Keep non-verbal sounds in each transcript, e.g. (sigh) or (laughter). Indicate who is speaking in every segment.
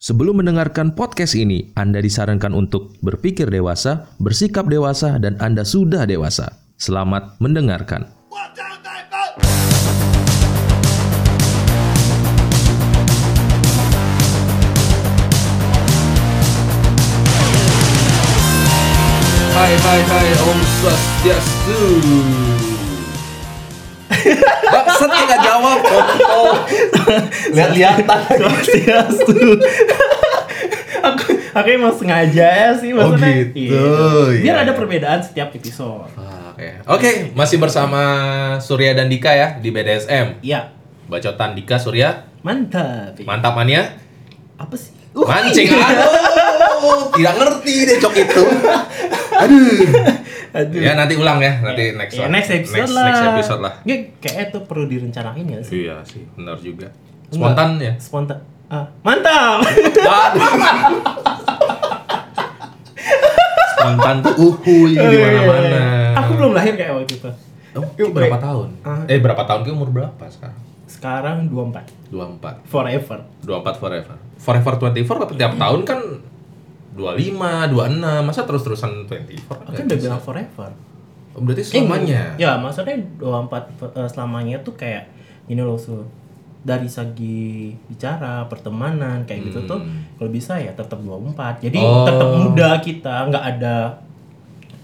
Speaker 1: Sebelum mendengarkan podcast ini, Anda disarankan untuk berpikir dewasa, bersikap dewasa, dan Anda sudah dewasa. Selamat mendengarkan.
Speaker 2: Watch out, they vote!
Speaker 3: Hai hai hai Om Swastiastu Bangsat lu gak jawab
Speaker 4: lihat-lihatan
Speaker 5: Swastiastu. aku aku emang sengaja ya sih
Speaker 3: Oh
Speaker 5: maksudnya.
Speaker 4: gitu,
Speaker 5: Iya. Biar
Speaker 4: iya.
Speaker 5: ada perbedaan setiap episode.
Speaker 3: Oke, Oke, masih bersama Surya dan Dika ya di BDSM
Speaker 5: Iya.
Speaker 3: Bacotan Dika Surya,
Speaker 5: Mantap. Iya.
Speaker 3: mantap mania
Speaker 5: Apa sih? Uh,
Speaker 3: Mancing, aduh Tidak ngerti deh cok itu
Speaker 5: Aduh.
Speaker 3: Ya nanti ulang ya, nanti next
Speaker 5: Ya,
Speaker 3: lah
Speaker 5: next episode
Speaker 3: next,
Speaker 5: lah.
Speaker 3: next episode lah
Speaker 5: Nggak, kayaknya itu perlu direncanain ya sih.
Speaker 3: Iya sih, benar juga Spontan ya
Speaker 5: Spontan. Ah, mantap.
Speaker 3: (laughs) Waduh. Spontan tuh uhuy di mana-mana
Speaker 5: aku belum lahir kayak waktu itu.
Speaker 3: Oh, itu berapa tahun?
Speaker 5: Ah.
Speaker 3: Eh berapa tahun? Kita umur berapa sekarang?
Speaker 5: Sekarang 24.
Speaker 3: 24
Speaker 5: Forever.
Speaker 3: 24 forever Forever 24 tapi tiap tahun kan 25, 26 Masa terus-terusan 24?
Speaker 5: Aku kan udah bilang forever.
Speaker 3: Oh, Berarti selamanya
Speaker 5: Ya, maksudnya 24 pe- eh, selamanya tuh kayak gini loh Sul. Dari segi bicara, pertemanan kayak gitu tuh kalau bisa ya tetap 24. Jadi
Speaker 3: Hmm. Oh.
Speaker 5: tetap muda kita, nggak ada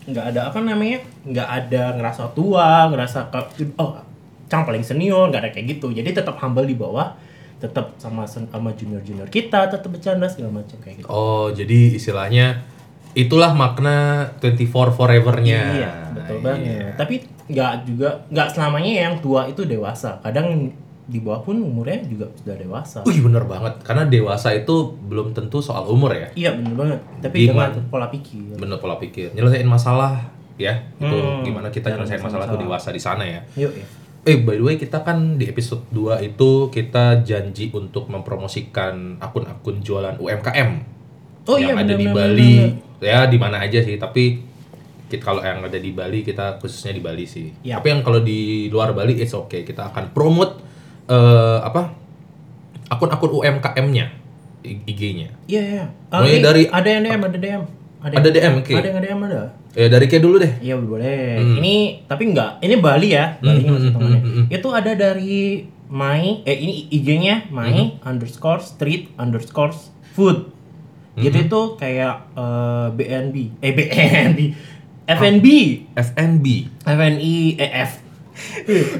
Speaker 5: nggak ada apa namanya? nggak ada ngerasa tua, ngerasa ke- oh, cang paling senior, nggak ada kayak gitu. Jadi tetap humble di bawah, tetap sama sen- sama junior-junior kita, tetap bercanda segala macam kayak gitu.
Speaker 3: Oh jadi istilahnya Itulah makna 24 forevernya
Speaker 5: Iya, betul
Speaker 3: Iya.
Speaker 5: banget. Tapi nggak juga nggak selamanya yang tua itu dewasa. Kadang di bawah pun umurnya juga sudah dewasa.
Speaker 3: Wih bener banget Karena dewasa itu belum tentu soal umur ya
Speaker 5: Iya bener banget. Tapi
Speaker 3: Gimana?
Speaker 5: dengan pola pikir.
Speaker 3: Bener pola pikir Nyelesain masalah ya Itu
Speaker 5: Hmm.
Speaker 3: gimana kita nyelesain masalah tuh dewasa di sana ya
Speaker 5: Yuk ya.
Speaker 3: Eh by the way kita kan di episode 2 itu kita janji untuk mempromosikan akun-akun jualan UMKM
Speaker 5: Oh
Speaker 3: yang
Speaker 5: iya,
Speaker 3: ada
Speaker 5: benar,
Speaker 3: di
Speaker 5: benar,
Speaker 3: Bali ya di mana aja sih tapi kita kalau yang ada di Bali kita khususnya di Bali sih.
Speaker 5: Iya.
Speaker 3: Tapi yang kalau di luar Bali it's okay kita akan promote eh, apa akun-akun UMKM-nya IG-nya.
Speaker 5: Iya iya. Ah,
Speaker 3: Mulai
Speaker 5: eh,
Speaker 3: dari-
Speaker 5: ada yang DM, ada DM.
Speaker 3: Ada DM, oke.
Speaker 5: Ada yang DM ada.
Speaker 3: Eh dari kayak dulu deh.
Speaker 5: Iya boleh. Ini tapi nggak. Ini Bali ya. Bali
Speaker 3: Hmm,
Speaker 5: masih
Speaker 3: hmm,
Speaker 5: temennya.
Speaker 3: hmm,
Speaker 5: Itu ada dari Mai. Eh ini IG-nya Mai
Speaker 3: Hmm.
Speaker 5: underscore street underscore food.
Speaker 3: Hmm.
Speaker 5: Jadi itu kayak eh, BNB, eh
Speaker 3: (laughs)
Speaker 5: BNB, FNB,
Speaker 3: FNB.
Speaker 5: FNI, eh (laughs) F,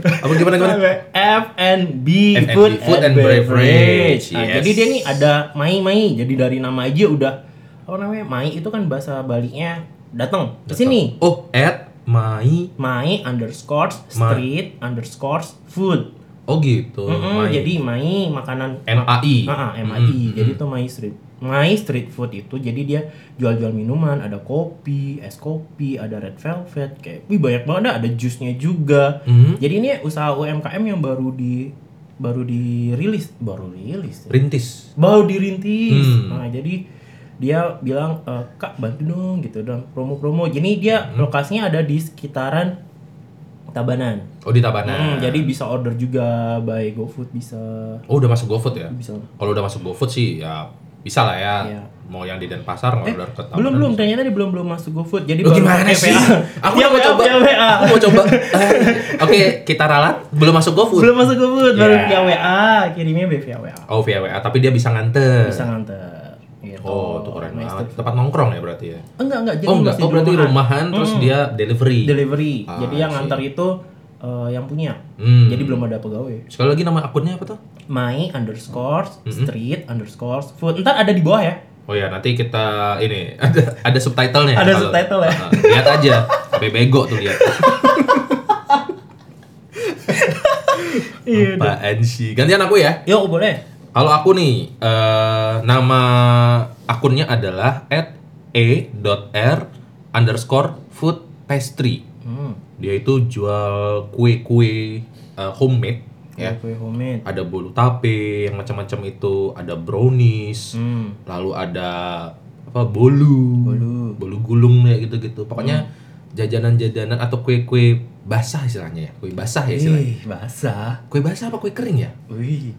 Speaker 3: Apa gimana gimana?
Speaker 5: FNB,
Speaker 3: F&B, food and beverage,
Speaker 5: Nah,
Speaker 3: yes.
Speaker 5: Jadi dia nih ada Mai Mai. Jadi dari nama aja udah apa namanya Mai itu kan bahasa Balinya datang ke sini.
Speaker 3: Oh, at my
Speaker 5: Mai underscore
Speaker 3: Ma-
Speaker 5: street underscore food.
Speaker 3: Oh gitu.
Speaker 5: Mm-mm,
Speaker 3: my.
Speaker 5: Jadi Mai makanan
Speaker 3: MAI.
Speaker 5: Ah, ah, MAI.
Speaker 3: Mm-mm.
Speaker 5: Jadi itu Mai street. Mai street food itu jadi dia jual-jual minuman, ada kopi, es kopi, ada red velvet kayak wih banyak banget dah, ada jusnya juga.
Speaker 3: Hmm.
Speaker 5: Jadi ini usaha UMKM yang baru di baru dirilis, baru rilis. ya.
Speaker 3: Rintis.
Speaker 5: baru dirintis.
Speaker 3: Hmm.
Speaker 5: Nah, jadi dia bilang e, kak bantu dong gitu dalam promo-promo. Jadi dia
Speaker 3: Hmm.
Speaker 5: lokasinya ada di sekitaran Tabanan.
Speaker 3: Oh di Tabanan.
Speaker 5: Hmm, jadi bisa order juga by GoFood bisa.
Speaker 3: Oh udah masuk GoFood ya?
Speaker 5: Bisa.
Speaker 3: Kalau udah masuk GoFood sih ya bisa lah ya.
Speaker 5: Iya. Eh,
Speaker 3: Mau yang di Denpasar mau order ke Tabanan.
Speaker 5: belum belum ternyata tadi belum belum masuk GoFood. Jadi
Speaker 3: Lu
Speaker 5: baru-
Speaker 3: gimana
Speaker 5: eh,
Speaker 3: sih?
Speaker 5: PA.
Speaker 3: Aku
Speaker 5: Iya,
Speaker 3: mau
Speaker 5: PA,
Speaker 3: coba. (laughs)
Speaker 5: PA.
Speaker 3: Aku mau coba. Eh, Oke, kita ralat. Belum masuk GoFood.
Speaker 5: Belum masuk GoFood, baru
Speaker 3: Ya.
Speaker 5: via WA, kirimnya via WA.
Speaker 3: Oh via WA, tapi dia bisa nganter.
Speaker 5: Bisa nganter. Gitu.
Speaker 3: Oh, tuh keren
Speaker 5: Nice
Speaker 3: banget.
Speaker 5: to-
Speaker 3: Tempat nongkrong ya berarti ya.
Speaker 5: Enggak, enggak. Jadi
Speaker 3: oh enggak,
Speaker 5: masih
Speaker 3: oh
Speaker 5: di
Speaker 3: berarti rumahan, terus
Speaker 5: Hmm.
Speaker 3: dia delivery.
Speaker 5: delivery.
Speaker 3: Ah,
Speaker 5: Jadi yang
Speaker 3: I see.
Speaker 5: nganter itu eh, yang punya.
Speaker 3: Hmm.
Speaker 5: Jadi belum ada pegawai. Hmm.
Speaker 3: Sekali lagi nama akunnya apa tuh?
Speaker 5: My underscore street underscore food. Ntar ada di bawah ya.
Speaker 3: Oh ya, nanti kita ini (laughs) ada ada subtitlenya.
Speaker 5: Ada
Speaker 3: Kalau-
Speaker 5: subtitle ya?
Speaker 3: Ah, lihat aja, sampai bego tuh lihat.
Speaker 5: (laughs) Iya.
Speaker 3: Apaan sih? Gantian aku ya.
Speaker 5: Yuk boleh.
Speaker 3: Kalau aku nih, eh, nama akunnya adalah at e.r underscore food pastry.
Speaker 5: Hmm.
Speaker 3: Dia itu jual kue-kue eh, homemade ya.
Speaker 5: Kue homemade.
Speaker 3: Ada bolu tape yang macam-macam itu, ada brownies,
Speaker 5: Hmm.
Speaker 3: lalu ada apa bolu,
Speaker 5: Bolu.
Speaker 3: bolu gulung ya gitu-gitu. Pokoknya jajanan-jajanan atau kue-kue basah ya istilahnya ya, kue basah ya istilahnya.
Speaker 5: Ih, basah.
Speaker 3: Kue basah apa kue kering ya?
Speaker 5: Wih.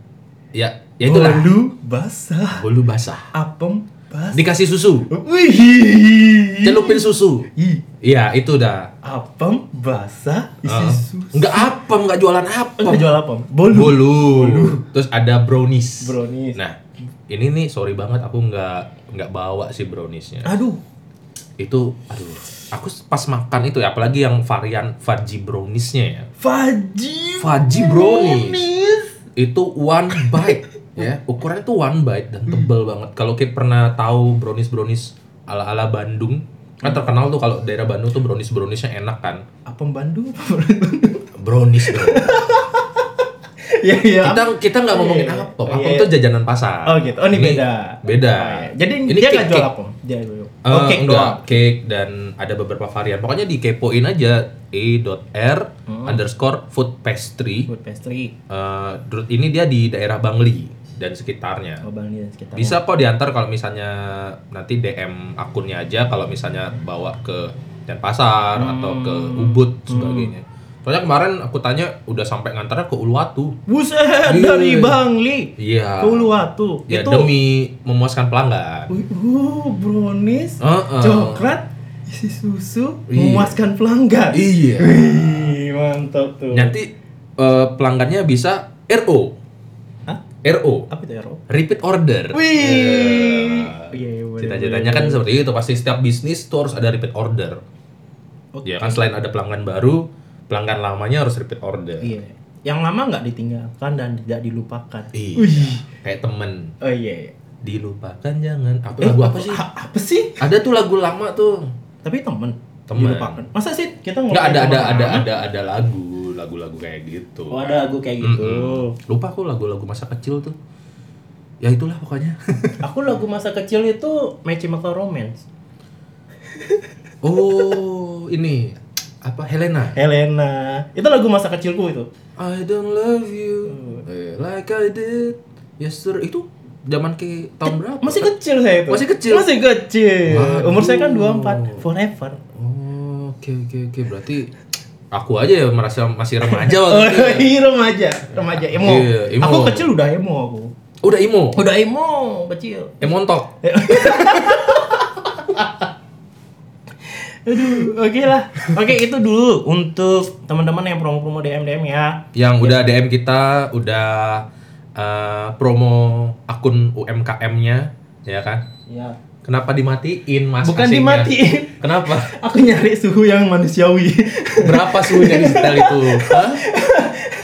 Speaker 3: Ya, Ya itulah.
Speaker 5: Bolu basah,
Speaker 3: Bolu basah.
Speaker 5: apem basah.
Speaker 3: Dikasih susu.
Speaker 5: Wih.
Speaker 3: Celupin susu.
Speaker 5: Ih,
Speaker 3: Iya, itu dah.
Speaker 5: apem basah isi
Speaker 3: Heeh.
Speaker 5: susu.
Speaker 3: Nggak apem, nggak jualan apem.
Speaker 5: Enggak jual Ah. apem. Bolu.
Speaker 3: Bolu. Terus ada brownies.
Speaker 5: Brownies.
Speaker 3: Nah, ini nih sorry banget aku nggak nggak bawa si browniesnya.
Speaker 5: Aduh.
Speaker 3: Itu, aduh. Aku pas makan itu ya, apalagi yang varian fudgy browniesnya ya.
Speaker 5: Faji.
Speaker 3: Fudgy brownies. itu one bite ya ukurannya tuh one bite dan tebel
Speaker 5: Hmm.
Speaker 3: banget kalau kita pernah tahu brownies brownies ala ala Bandung kan
Speaker 5: Hmm.
Speaker 3: terkenal tuh kalau daerah Bandung tuh brownies browniesnya enak kan
Speaker 5: Apem Bandung.
Speaker 3: brownies dong
Speaker 5: (laughs) Ya ya.
Speaker 3: kita kita nggak ngomongin
Speaker 5: (laughs) Iya, iya.
Speaker 3: apa
Speaker 5: Iya,
Speaker 3: apa
Speaker 5: iya.
Speaker 3: tuh jajanan pasar
Speaker 5: Oh gitu. Oh ini beda.
Speaker 3: beda
Speaker 5: Oh, iya. Jadi
Speaker 3: Ini
Speaker 5: dia nggak
Speaker 3: cake-cake.
Speaker 5: jual apem. Dia jual.
Speaker 3: Eh,
Speaker 5: Oh, cake
Speaker 3: enggak,
Speaker 5: doang.
Speaker 3: cake dan ada beberapa varian pokoknya dikepoin aja e.r
Speaker 5: Hmm.
Speaker 3: underscore food pastry
Speaker 5: Food pastry.
Speaker 3: Eh, ini dia di daerah Bangli dan sekitarnya
Speaker 5: Oh, Bang Lian sekitar.
Speaker 3: Bisa kok diantar kalau misalnya nanti DM akunnya aja kalau misalnya bawa ke Denpasar atau ke
Speaker 5: Hmm.
Speaker 3: Ubud sebagainya. Soalnya kemarin aku tanya udah sampai ngantarnya ke Uluwatu.
Speaker 5: Buset
Speaker 3: Iya.
Speaker 5: dari Bang Li.
Speaker 3: Iya.
Speaker 5: Uluwatu.
Speaker 3: Ya
Speaker 5: itu
Speaker 3: demi memuaskan pelanggan.
Speaker 5: Wih, Uh, brownies,
Speaker 3: Heeh.
Speaker 5: coklat, isi susu,
Speaker 3: Ah, Iya.
Speaker 5: memuaskan pelanggan.
Speaker 3: Iya. Ya.
Speaker 5: Wih, mantap tuh.
Speaker 3: Nanti eh, pelanggannya bisa RO.
Speaker 5: Hah?
Speaker 3: RO.
Speaker 5: Apa itu Ero?
Speaker 3: Repeat order.
Speaker 5: Wih.
Speaker 3: Ya.
Speaker 5: Iya, iya, boleh,
Speaker 3: Cita-citanya kan seperti itu pasti setiap bisnis tuh harus ada repeat order.
Speaker 5: Oke.
Speaker 3: Ya kan selain ada pelanggan baru, pelanggan lamanya harus repeat order.
Speaker 5: Iya. Yang lama nggak ditinggalkan dan tidak dilupakan.
Speaker 3: Iya.
Speaker 5: Wih.
Speaker 3: Kayak temen
Speaker 5: Oh iya. iya.
Speaker 3: dilupakan jangan. Apa
Speaker 5: Eh,
Speaker 3: lagu apa sih?
Speaker 5: ha- apa sih?
Speaker 3: Ada tuh lagu lama tuh.
Speaker 5: Tapi temen.
Speaker 3: Temen.
Speaker 5: Dilupakan. Masa sih kita
Speaker 3: Enggak ada ada
Speaker 5: ngomongin temen
Speaker 3: ada
Speaker 5: Oh, lama?
Speaker 3: ada ada lagu, lagu-lagu kayak gitu.
Speaker 5: Oh ada lagu kayak gitu.
Speaker 3: Mm-mm. Lupa aku lagu-lagu masa kecil tuh. Ya itulah pokoknya. (laughs)
Speaker 5: Aku lagu masa kecil itu My Chemical Romance.
Speaker 3: oh, ini apa Helena?
Speaker 5: Helena. Itu lagu masa kecilku itu.
Speaker 3: I don't love you
Speaker 5: Hmm.
Speaker 3: eh, like I did yesterday. Itu zaman ke tahun berapa?
Speaker 5: Eh, Masih kecil saya itu.
Speaker 3: Masih kecil?
Speaker 5: Masih kecil.
Speaker 3: Waduh.
Speaker 5: Umur saya kan 24. Forever.
Speaker 3: Oh, oke oke oke. Berarti aku aja ya merasa masih remaja waktu
Speaker 5: Oh, (laughs)
Speaker 3: itu. ya.
Speaker 5: iya, remaja, remaja emo.
Speaker 3: Iya, emo.
Speaker 5: Aku kecil udah emo aku.
Speaker 3: Udah emo.
Speaker 5: Udah emo kecil.
Speaker 3: Emontok.
Speaker 5: Aduh, oke lah. Oke, itu dulu untuk teman-teman yang promo-promo DM-DM ya.
Speaker 3: Yang udah DM kita, udah eh, promo akun UMKM-nya, ya kan?
Speaker 5: Iya.
Speaker 3: Kenapa dimatiin mas?
Speaker 5: Bukan
Speaker 3: asingnya?
Speaker 5: dimatiin.
Speaker 3: Kenapa?
Speaker 5: Aku nyari suhu yang manusiawi.
Speaker 3: Berapa suhunya di setel itu? Hah?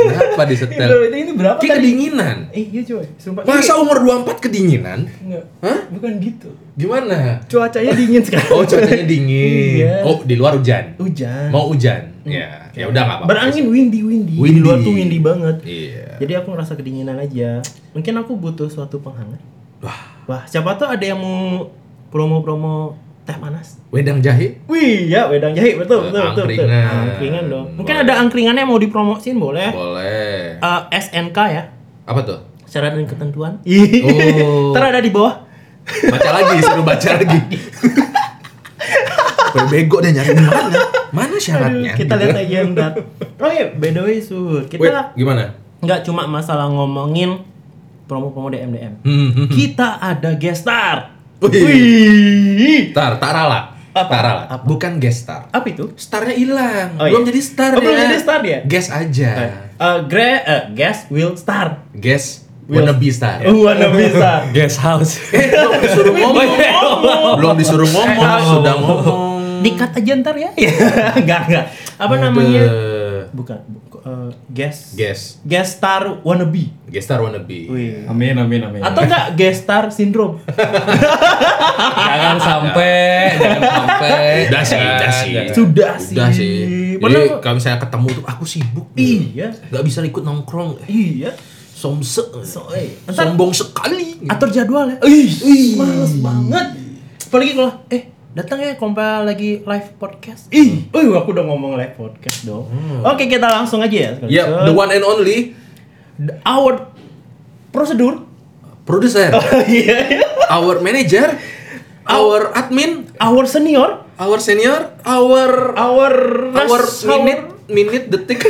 Speaker 3: Berapa di setel?
Speaker 5: Loh, ini, ini berapa
Speaker 3: Ki
Speaker 5: tadi?
Speaker 3: kedinginan.
Speaker 5: Eh, iya coy. Sumpah.
Speaker 3: Masa umur 24 kedinginan?
Speaker 5: Enggak.
Speaker 3: Hah?
Speaker 5: Bukan gitu.
Speaker 3: Gimana?
Speaker 5: Cuacanya dingin sekarang.
Speaker 3: Oh, cuacanya dingin.
Speaker 5: Iya.
Speaker 3: Oh, di luar hujan.
Speaker 5: Hujan.
Speaker 3: Mau hujan. Ya, ya udah nggak apa-apa.
Speaker 5: Berangin windy windy.
Speaker 3: Windy.
Speaker 5: Di luar tuh windy banget.
Speaker 3: Iya.
Speaker 5: Jadi aku ngerasa kedinginan aja. Mungkin aku butuh suatu penghangat.
Speaker 3: Wah,
Speaker 5: Wah, siapa tuh ada yang mau promo-promo teh panas?
Speaker 3: wedang jahe?
Speaker 5: Wih, ya wedang jahe betul
Speaker 3: Eh,
Speaker 5: betul betul. betul.
Speaker 3: angkringan.
Speaker 5: Angkringan dong. Mungkin
Speaker 3: Boleh.
Speaker 5: ada angkringannya yang mau dipromosin boleh.
Speaker 3: Boleh.
Speaker 5: Eh, SNK ya.
Speaker 3: Apa tuh?
Speaker 5: Syarat dan ketentuan.
Speaker 3: Oh.
Speaker 5: (laughs) Ntar ada di bawah.
Speaker 3: Baca lagi, suruh baca
Speaker 5: (laughs)
Speaker 3: lagi. Gue bego deh nyari mana? Mana
Speaker 5: Aduh,
Speaker 3: syaratnya? Gitu.
Speaker 5: kita lihat aja yang dat. Oh iya, by the way, Sur,
Speaker 3: Wait,
Speaker 5: kita
Speaker 3: gimana?
Speaker 5: nggak cuma masalah ngomongin promo-promo DM DM.
Speaker 3: Hmm, hmm, hmm.
Speaker 5: Kita ada guest star.
Speaker 3: Wih.
Speaker 5: Wih.
Speaker 3: Tar, tarala.
Speaker 5: Apa?
Speaker 3: Tarala.
Speaker 5: Apa?
Speaker 3: Bukan guest star.
Speaker 5: Apa itu?
Speaker 3: Starnya hilang.
Speaker 5: Oh, iya.
Speaker 3: Belum jadi star
Speaker 5: Oh, belum jadi star dia?
Speaker 3: Guest aja.
Speaker 5: Eh, Gre, eh, guest will star. Uh,
Speaker 3: Guest
Speaker 5: Will- Oh,
Speaker 3: wannabe star.
Speaker 5: Wanna be star.
Speaker 2: Guest
Speaker 5: (laughs)
Speaker 2: house.
Speaker 3: Eh, belum disuruh ngomong. (laughs) belum disuruh ngomong,
Speaker 5: Eh, oh.
Speaker 3: sudah ngomong.
Speaker 5: Dikat aja ntar ya. (laughs) Enggak, enggak. Apa namanya? Bukan. bu- eh, guest.
Speaker 3: Guest.
Speaker 5: Guest star wannabe.
Speaker 3: Guest star wannabe.
Speaker 5: Wih.
Speaker 2: Amin amin amin.
Speaker 5: Atau enggak guest star syndrome?
Speaker 2: jangan sampai, jangan sampai.
Speaker 3: Udah sih, udah sih.
Speaker 5: Sudah sih.
Speaker 3: Udah sih. Jadi
Speaker 5: Padahal-
Speaker 3: kalau misalnya ketemu tuh aku sibuk.
Speaker 5: Iya.
Speaker 3: Gak bisa ikut nongkrong. Eh,
Speaker 5: Iya.
Speaker 3: Somse.
Speaker 5: So, eh, ntar
Speaker 3: Sombong sekali.
Speaker 5: atur jadwal ya. Ih, males banget. Apalagi kalau eh datang ya kompa lagi live podcast. Hmm. Ih, wih aku udah ngomong live podcast dong. Oke, kita langsung aja ya. sekarang.
Speaker 3: Ya,
Speaker 5: So,
Speaker 3: the one and only
Speaker 5: our prosedur. (laughs)
Speaker 3: producer,
Speaker 5: Iya.
Speaker 3: our manager, our admin,
Speaker 5: our senior,
Speaker 3: our senior, our
Speaker 5: our
Speaker 3: our
Speaker 5: ras-
Speaker 3: minute minute detik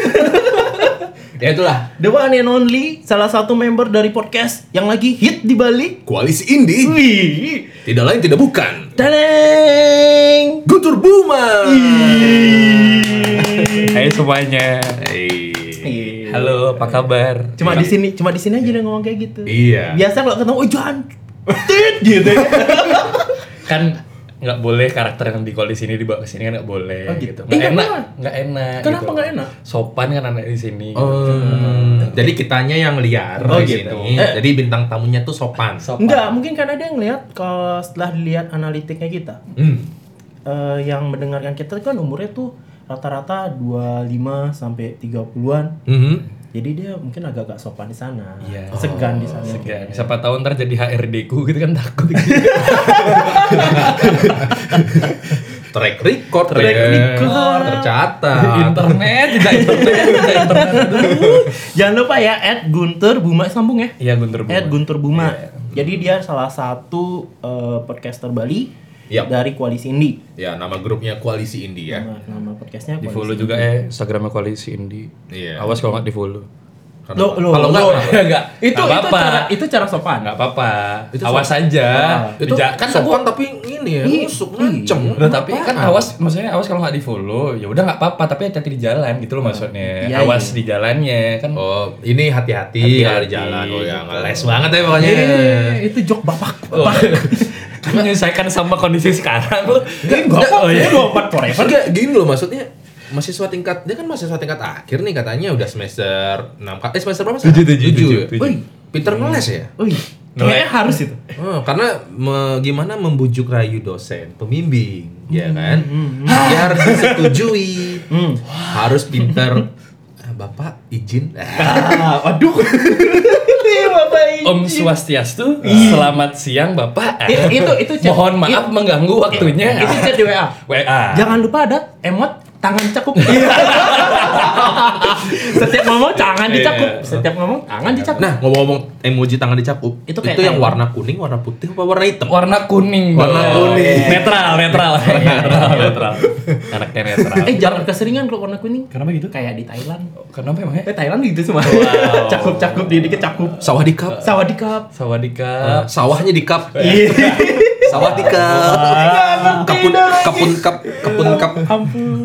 Speaker 3: (laughs) ya itulah
Speaker 5: The one and only salah satu member dari podcast yang lagi hit di Bali.
Speaker 3: koalisi indie
Speaker 5: Wih.
Speaker 3: tidak lain tidak bukan
Speaker 5: Tadeng.
Speaker 3: Guntur Buma
Speaker 2: Hai semuanya.
Speaker 5: Iya.
Speaker 2: Halo, apa kabar?
Speaker 5: Cuma di sini, cuma di sini aja dia ngomong kayak gitu.
Speaker 3: Iya.
Speaker 5: Biasa kalau ketemu, oh jangan tit gitu.
Speaker 2: (laughs) kan nggak boleh karakter yang di koalisi ini dibawa ke sini kan nggak boleh
Speaker 5: Oh, gitu. Eh,
Speaker 2: gitu. Nggak enak,
Speaker 5: kenapa?
Speaker 2: nggak enak.
Speaker 5: Kenapa
Speaker 2: gitu.
Speaker 5: nggak enak?
Speaker 2: Sopan kan anak di sini.
Speaker 3: Oh. jadi kitanya yang liar
Speaker 5: Oh,
Speaker 3: di
Speaker 5: gitu.
Speaker 3: sini.
Speaker 5: Eh.
Speaker 3: Jadi bintang tamunya tuh sopan.
Speaker 2: Sopan.
Speaker 5: Enggak, mungkin karena dia ngelihat kalau setelah dilihat analitiknya kita,
Speaker 3: Hmm.
Speaker 5: eh, yang mendengarkan kita kan umurnya tuh rata-rata 25 sampai 30-an.
Speaker 3: Mhm.
Speaker 5: Jadi dia mungkin agak-agak sopan di sana.
Speaker 2: Iya.
Speaker 5: Segan di sana.
Speaker 2: Segan. Ya, Siapa tahu ntar jadi HRD ku gitu kan takut.
Speaker 3: Track record,
Speaker 2: Track
Speaker 3: ya.
Speaker 5: record.
Speaker 3: tercatat.
Speaker 2: (laughs) internet, tidak internet, tidak internet.
Speaker 5: (laughs) Jangan lupa ya, add Guntur Buma sambung ya.
Speaker 2: Iya Guntur Buma. Iya.
Speaker 5: Ed Guntur Buma. Jadi dia salah satu eh, podcaster Bali
Speaker 3: Yap.
Speaker 5: dari Koalisi Indi.
Speaker 3: (laughs) ya nama grupnya Koalisi Indie ya.
Speaker 5: Nama, nama podcastnya
Speaker 2: Iya. Di
Speaker 5: Koalisi.
Speaker 2: follow juga eh Instagramnya koalisi Indi.
Speaker 3: Iya.
Speaker 2: Awas kalau nggak di follow.
Speaker 3: Karena-
Speaker 5: Lo- lo-
Speaker 3: kalau
Speaker 5: (laughs) lo-
Speaker 3: enggak
Speaker 2: Enggak.
Speaker 5: Itu
Speaker 2: Nggak
Speaker 5: itu
Speaker 2: apa-apa.
Speaker 5: cara itu cara sopan.
Speaker 2: Nggak apa-apa.
Speaker 3: Itu
Speaker 2: Awas aja.
Speaker 3: itu
Speaker 2: Dijak-
Speaker 3: kan sopan tapi ini ya,
Speaker 5: Iya.
Speaker 3: rusuk ngancem.
Speaker 2: Nah, tapi kan
Speaker 3: Apaan?
Speaker 2: awas maksudnya awas kalau nggak di follow ya udah nggak apa-apa tapi hati-hati di jalan gitu loh maksudnya
Speaker 5: Iya,
Speaker 2: awas
Speaker 5: iya.
Speaker 2: di jalannya kan (laughs)
Speaker 3: Oh, ini hati-hati
Speaker 2: Hati-hati.
Speaker 3: kalau di jalan. Oh ya, ngeles banget ya pokoknya.
Speaker 5: Eh, itu jok bapak. bapak. (laughs)
Speaker 2: Kan menyesuaikan sama kondisi sekarang lo
Speaker 5: Ini gua
Speaker 2: oh, iya.
Speaker 5: gua empat forever.
Speaker 3: Enggak, gini loh maksudnya mahasiswa tingkat dia kan mahasiswa tingkat akhir nih katanya udah semester 6 eh semester berapa sih?
Speaker 2: Tujuh, tujuh,
Speaker 3: Tujuh,
Speaker 2: tujuh,
Speaker 3: ya?
Speaker 2: tujuh.
Speaker 3: Wih, pinter
Speaker 5: Hmm.
Speaker 3: ngeles ya?
Speaker 5: Wih, kayaknya harus itu.
Speaker 3: Oh, karena me- gimana membujuk rayu dosen pembimbing, ya
Speaker 5: Hmm,
Speaker 3: kan? Ya harus
Speaker 5: (laughs)
Speaker 3: disetujui. Harus pinter. Ah, Bapak
Speaker 5: (laughs)
Speaker 3: izin. Ah,
Speaker 5: Ah, waduh. (laughs) Ih, bapak ini.
Speaker 2: Om Swastiastu selamat siang Bapak
Speaker 5: I- itu itu chat.
Speaker 2: mohon maaf mengganggu waktunya
Speaker 5: Itu chat di WA.
Speaker 2: WA
Speaker 5: Jangan lupa ada emot tangan cakup. (laughs) Setiap ngomong tangan dicakup. Setiap ngomong tangan dicakup.
Speaker 3: Nah, ngomong-ngomong emoji tangan dicakup,
Speaker 5: Itu
Speaker 3: itu,
Speaker 5: kayak
Speaker 3: yang
Speaker 5: kayak-
Speaker 3: warna kuning, warna putih, apa warna hitam?
Speaker 2: warna kuning
Speaker 3: Warna
Speaker 2: dong.
Speaker 3: kuning.
Speaker 2: netral netral netral netral anaknya netral
Speaker 5: Eh jangan keseringan kalau warna kuning.
Speaker 2: Kenapa gitu?
Speaker 5: Kayak di Thailand.
Speaker 2: kenapa emangnya
Speaker 5: Eh Thailand gitu semua.
Speaker 2: Wow.
Speaker 5: (laughs) Cakup-cakup di dikit cakup.
Speaker 3: Sawah di cup. Iya.
Speaker 5: Sawadikap. Eh.
Speaker 2: Sawadika
Speaker 3: Sawahnya di cup.
Speaker 5: Iya. (laughs)
Speaker 3: Sawah di cup. Kapun kapun cup, kapun cup.
Speaker 5: Ampun.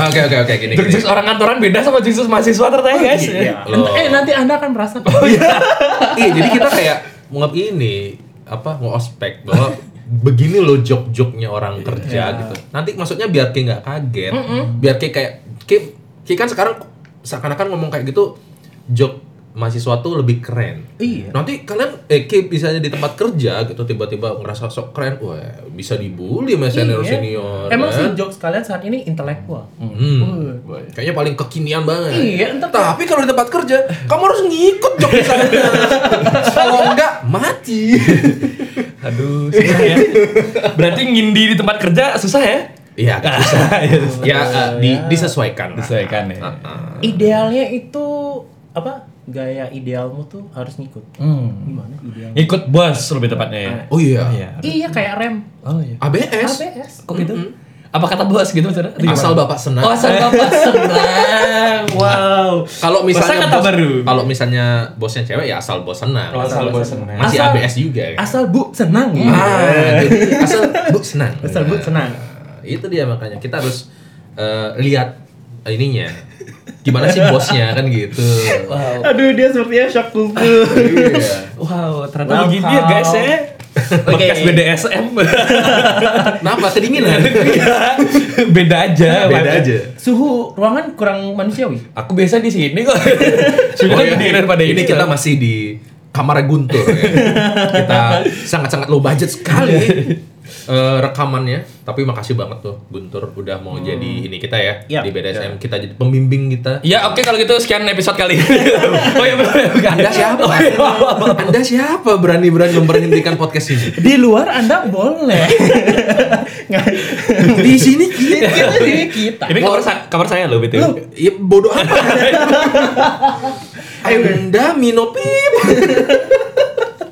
Speaker 3: Oke oke oke gini. gini.
Speaker 2: Jurus orang kantoran beda sama jurus mahasiswa ternyata guys
Speaker 5: Iya.
Speaker 3: Loh.
Speaker 5: Eh nanti Anda akan merasa. Oh iya.
Speaker 3: Iya, jadi kita kayak ngap ini apa ngospek bahwa begini loh jok-joknya orang
Speaker 5: Iya.
Speaker 3: kerja gitu. Nanti maksudnya biar kayak nggak kaget, biar kayak kayak kayak, kayak kan sekarang seakan-akan ngomong kayak gitu jok mahasiswa tuh lebih keren.
Speaker 5: Iya.
Speaker 3: Nanti kalian eh kayak misalnya di tempat kerja gitu tiba-tiba ngerasa sok keren, wah bisa dibully sama senior senior.
Speaker 5: Iya. Emang sih
Speaker 3: kan?
Speaker 5: jokes kalian saat ini intelektual.
Speaker 3: Hmm. Kayaknya paling kekinian banget.
Speaker 5: Iya, entar-
Speaker 3: Tapi kalau di tempat kerja, kamu harus ngikut jok di sana. kalau enggak mati.
Speaker 2: Aduh, susah ya. Berarti ngindi di tempat kerja susah ya?
Speaker 3: Iya, bisa. ya eh, di, disesuaikan. lah.
Speaker 2: Disesuaikan ya.
Speaker 5: Idealnya itu apa? Gaya idealmu tuh harus ngikut.
Speaker 2: Hmm.
Speaker 5: Gimana ideal?
Speaker 2: Ikut bos lebih tepatnya ya.
Speaker 3: Oh iya.
Speaker 2: Iya.
Speaker 5: Iya kayak rem.
Speaker 2: Oh iya.
Speaker 3: ABS.
Speaker 5: ABS.
Speaker 2: Kok gitu? Apa kata bos gitu maksudnya? Atau gimana?
Speaker 3: Asal Bapak senang.
Speaker 2: Oh, asal bapak senang. Wow.
Speaker 3: (laughs) kalau
Speaker 2: Masa
Speaker 3: misalnya
Speaker 2: kata
Speaker 3: bos-
Speaker 2: baru?
Speaker 3: kalau misalnya bosnya cewek ya asal bos senang.
Speaker 2: Oh, asal bos senang.
Speaker 3: Masih
Speaker 5: Asal-
Speaker 3: ABS juga. kan?
Speaker 5: Asal Bu senang. ya.
Speaker 3: Ah, jadi asal bu senang.
Speaker 5: Asal Bu senang.
Speaker 3: Nah, itu dia makanya kita harus eh, lihat ininya. Gimana sih bosnya kan gitu.
Speaker 2: Wow.
Speaker 5: Aduh dia sepertinya shock kultur.
Speaker 3: Iya.
Speaker 2: Wow,
Speaker 5: Wow.
Speaker 2: ternyata begini ya guys ya. Podcast
Speaker 5: Oke.
Speaker 2: BDSM.
Speaker 3: Kenapa kedinginan?
Speaker 2: (laughs) Beda aja.
Speaker 3: Beda aja.
Speaker 5: Suhu ruangan kurang manusiawi.
Speaker 2: Aku biasa di sini
Speaker 3: (laughs)
Speaker 2: kok. Sudah
Speaker 3: Oh,
Speaker 2: oh,
Speaker 3: iya.
Speaker 2: pada
Speaker 3: ini kita masih di kamar Guntur. ya. kita sangat-sangat low budget sekali
Speaker 2: Iya.
Speaker 3: eh, rekamannya. Tapi makasih banget tuh Guntur udah mau
Speaker 2: Hmm.
Speaker 3: jadi ini kita ya
Speaker 5: Iya.
Speaker 3: di BDSM kita jadi pembimbing kita.
Speaker 2: Ya oke kalau gitu sekian episode kali.
Speaker 3: (laughs)
Speaker 2: oh iya benar bukan.
Speaker 3: Anda siapa?
Speaker 2: Oh, (laughs) iya.
Speaker 3: Anda siapa berani-berani memberhentikan podcast ini?
Speaker 5: Di luar Anda boleh. Nggak-
Speaker 3: Di sini kita,
Speaker 5: Kita sini kita.
Speaker 2: Ini kamar, sa- kamar saya loh BTW.
Speaker 3: ya bodoh apa? (laughs) Anda minopip.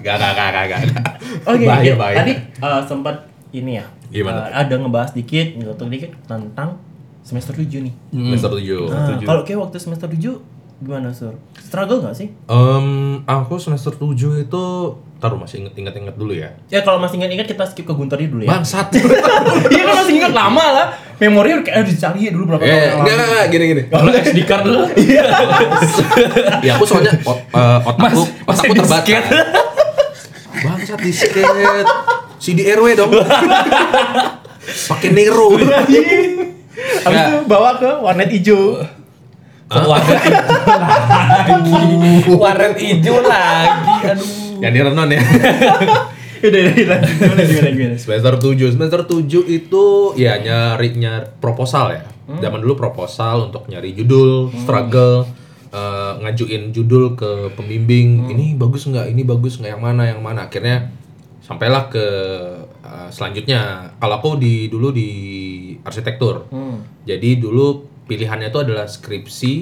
Speaker 3: gak, gak, gak, gak, gak.
Speaker 5: Oke,
Speaker 3: bahaya,
Speaker 5: oke.
Speaker 3: bahaya.
Speaker 5: tadi eh, sempat ini ya.
Speaker 3: Gimana?
Speaker 5: eh, ada ngebahas dikit, ngelotok dikit tentang semester 7 nih.
Speaker 3: Hmm. Semester tujuh.
Speaker 5: Nah, kalau kayak waktu semester 7 gimana sur? Struggle nggak sih?
Speaker 3: Em, aku semester 7 itu taruh masih inget-inget-inget dulu ya.
Speaker 5: Ya kalau masih ingat-ingat kita skip ke Guntur dulu ya.
Speaker 3: Bangsat.
Speaker 5: (laughs) Iya kan masih ingat lama lah. Memori kayak harus dicari ya dulu berapa
Speaker 3: Eh,
Speaker 5: tahun yang
Speaker 3: enggak,
Speaker 5: lalu. Iya,
Speaker 3: enggak, gini gini.
Speaker 2: Kalau SD card
Speaker 5: (laughs)
Speaker 2: lu
Speaker 3: Ya aku soalnya o- eh, otakku
Speaker 2: Mas,
Speaker 3: otakku
Speaker 2: masih
Speaker 3: terbatas.
Speaker 2: disket.
Speaker 3: (laughs) Bangsat disket. CDRW
Speaker 5: (laughs)
Speaker 3: dong. Pakai Nero.
Speaker 5: iya. Habis itu bawa ke warnet hijau.
Speaker 3: Oh.
Speaker 2: warnet hijau. warnet hijau lagi. Aduh.
Speaker 3: Ya ini renon ya.
Speaker 5: Udah, udah, udah. Gimana, gimana, gimana?
Speaker 3: Semester 7. Semester 7 itu ya nyari nyari proposal ya. Zaman dulu proposal untuk nyari judul, struggle, eh, ngajuin judul ke pembimbing. Ini bagus nggak? Ini bagus nggak? Yang mana? Yang mana? Akhirnya sampailah ke eh, selanjutnya. Kalau aku di dulu di arsitektur. Jadi dulu pilihannya itu adalah skripsi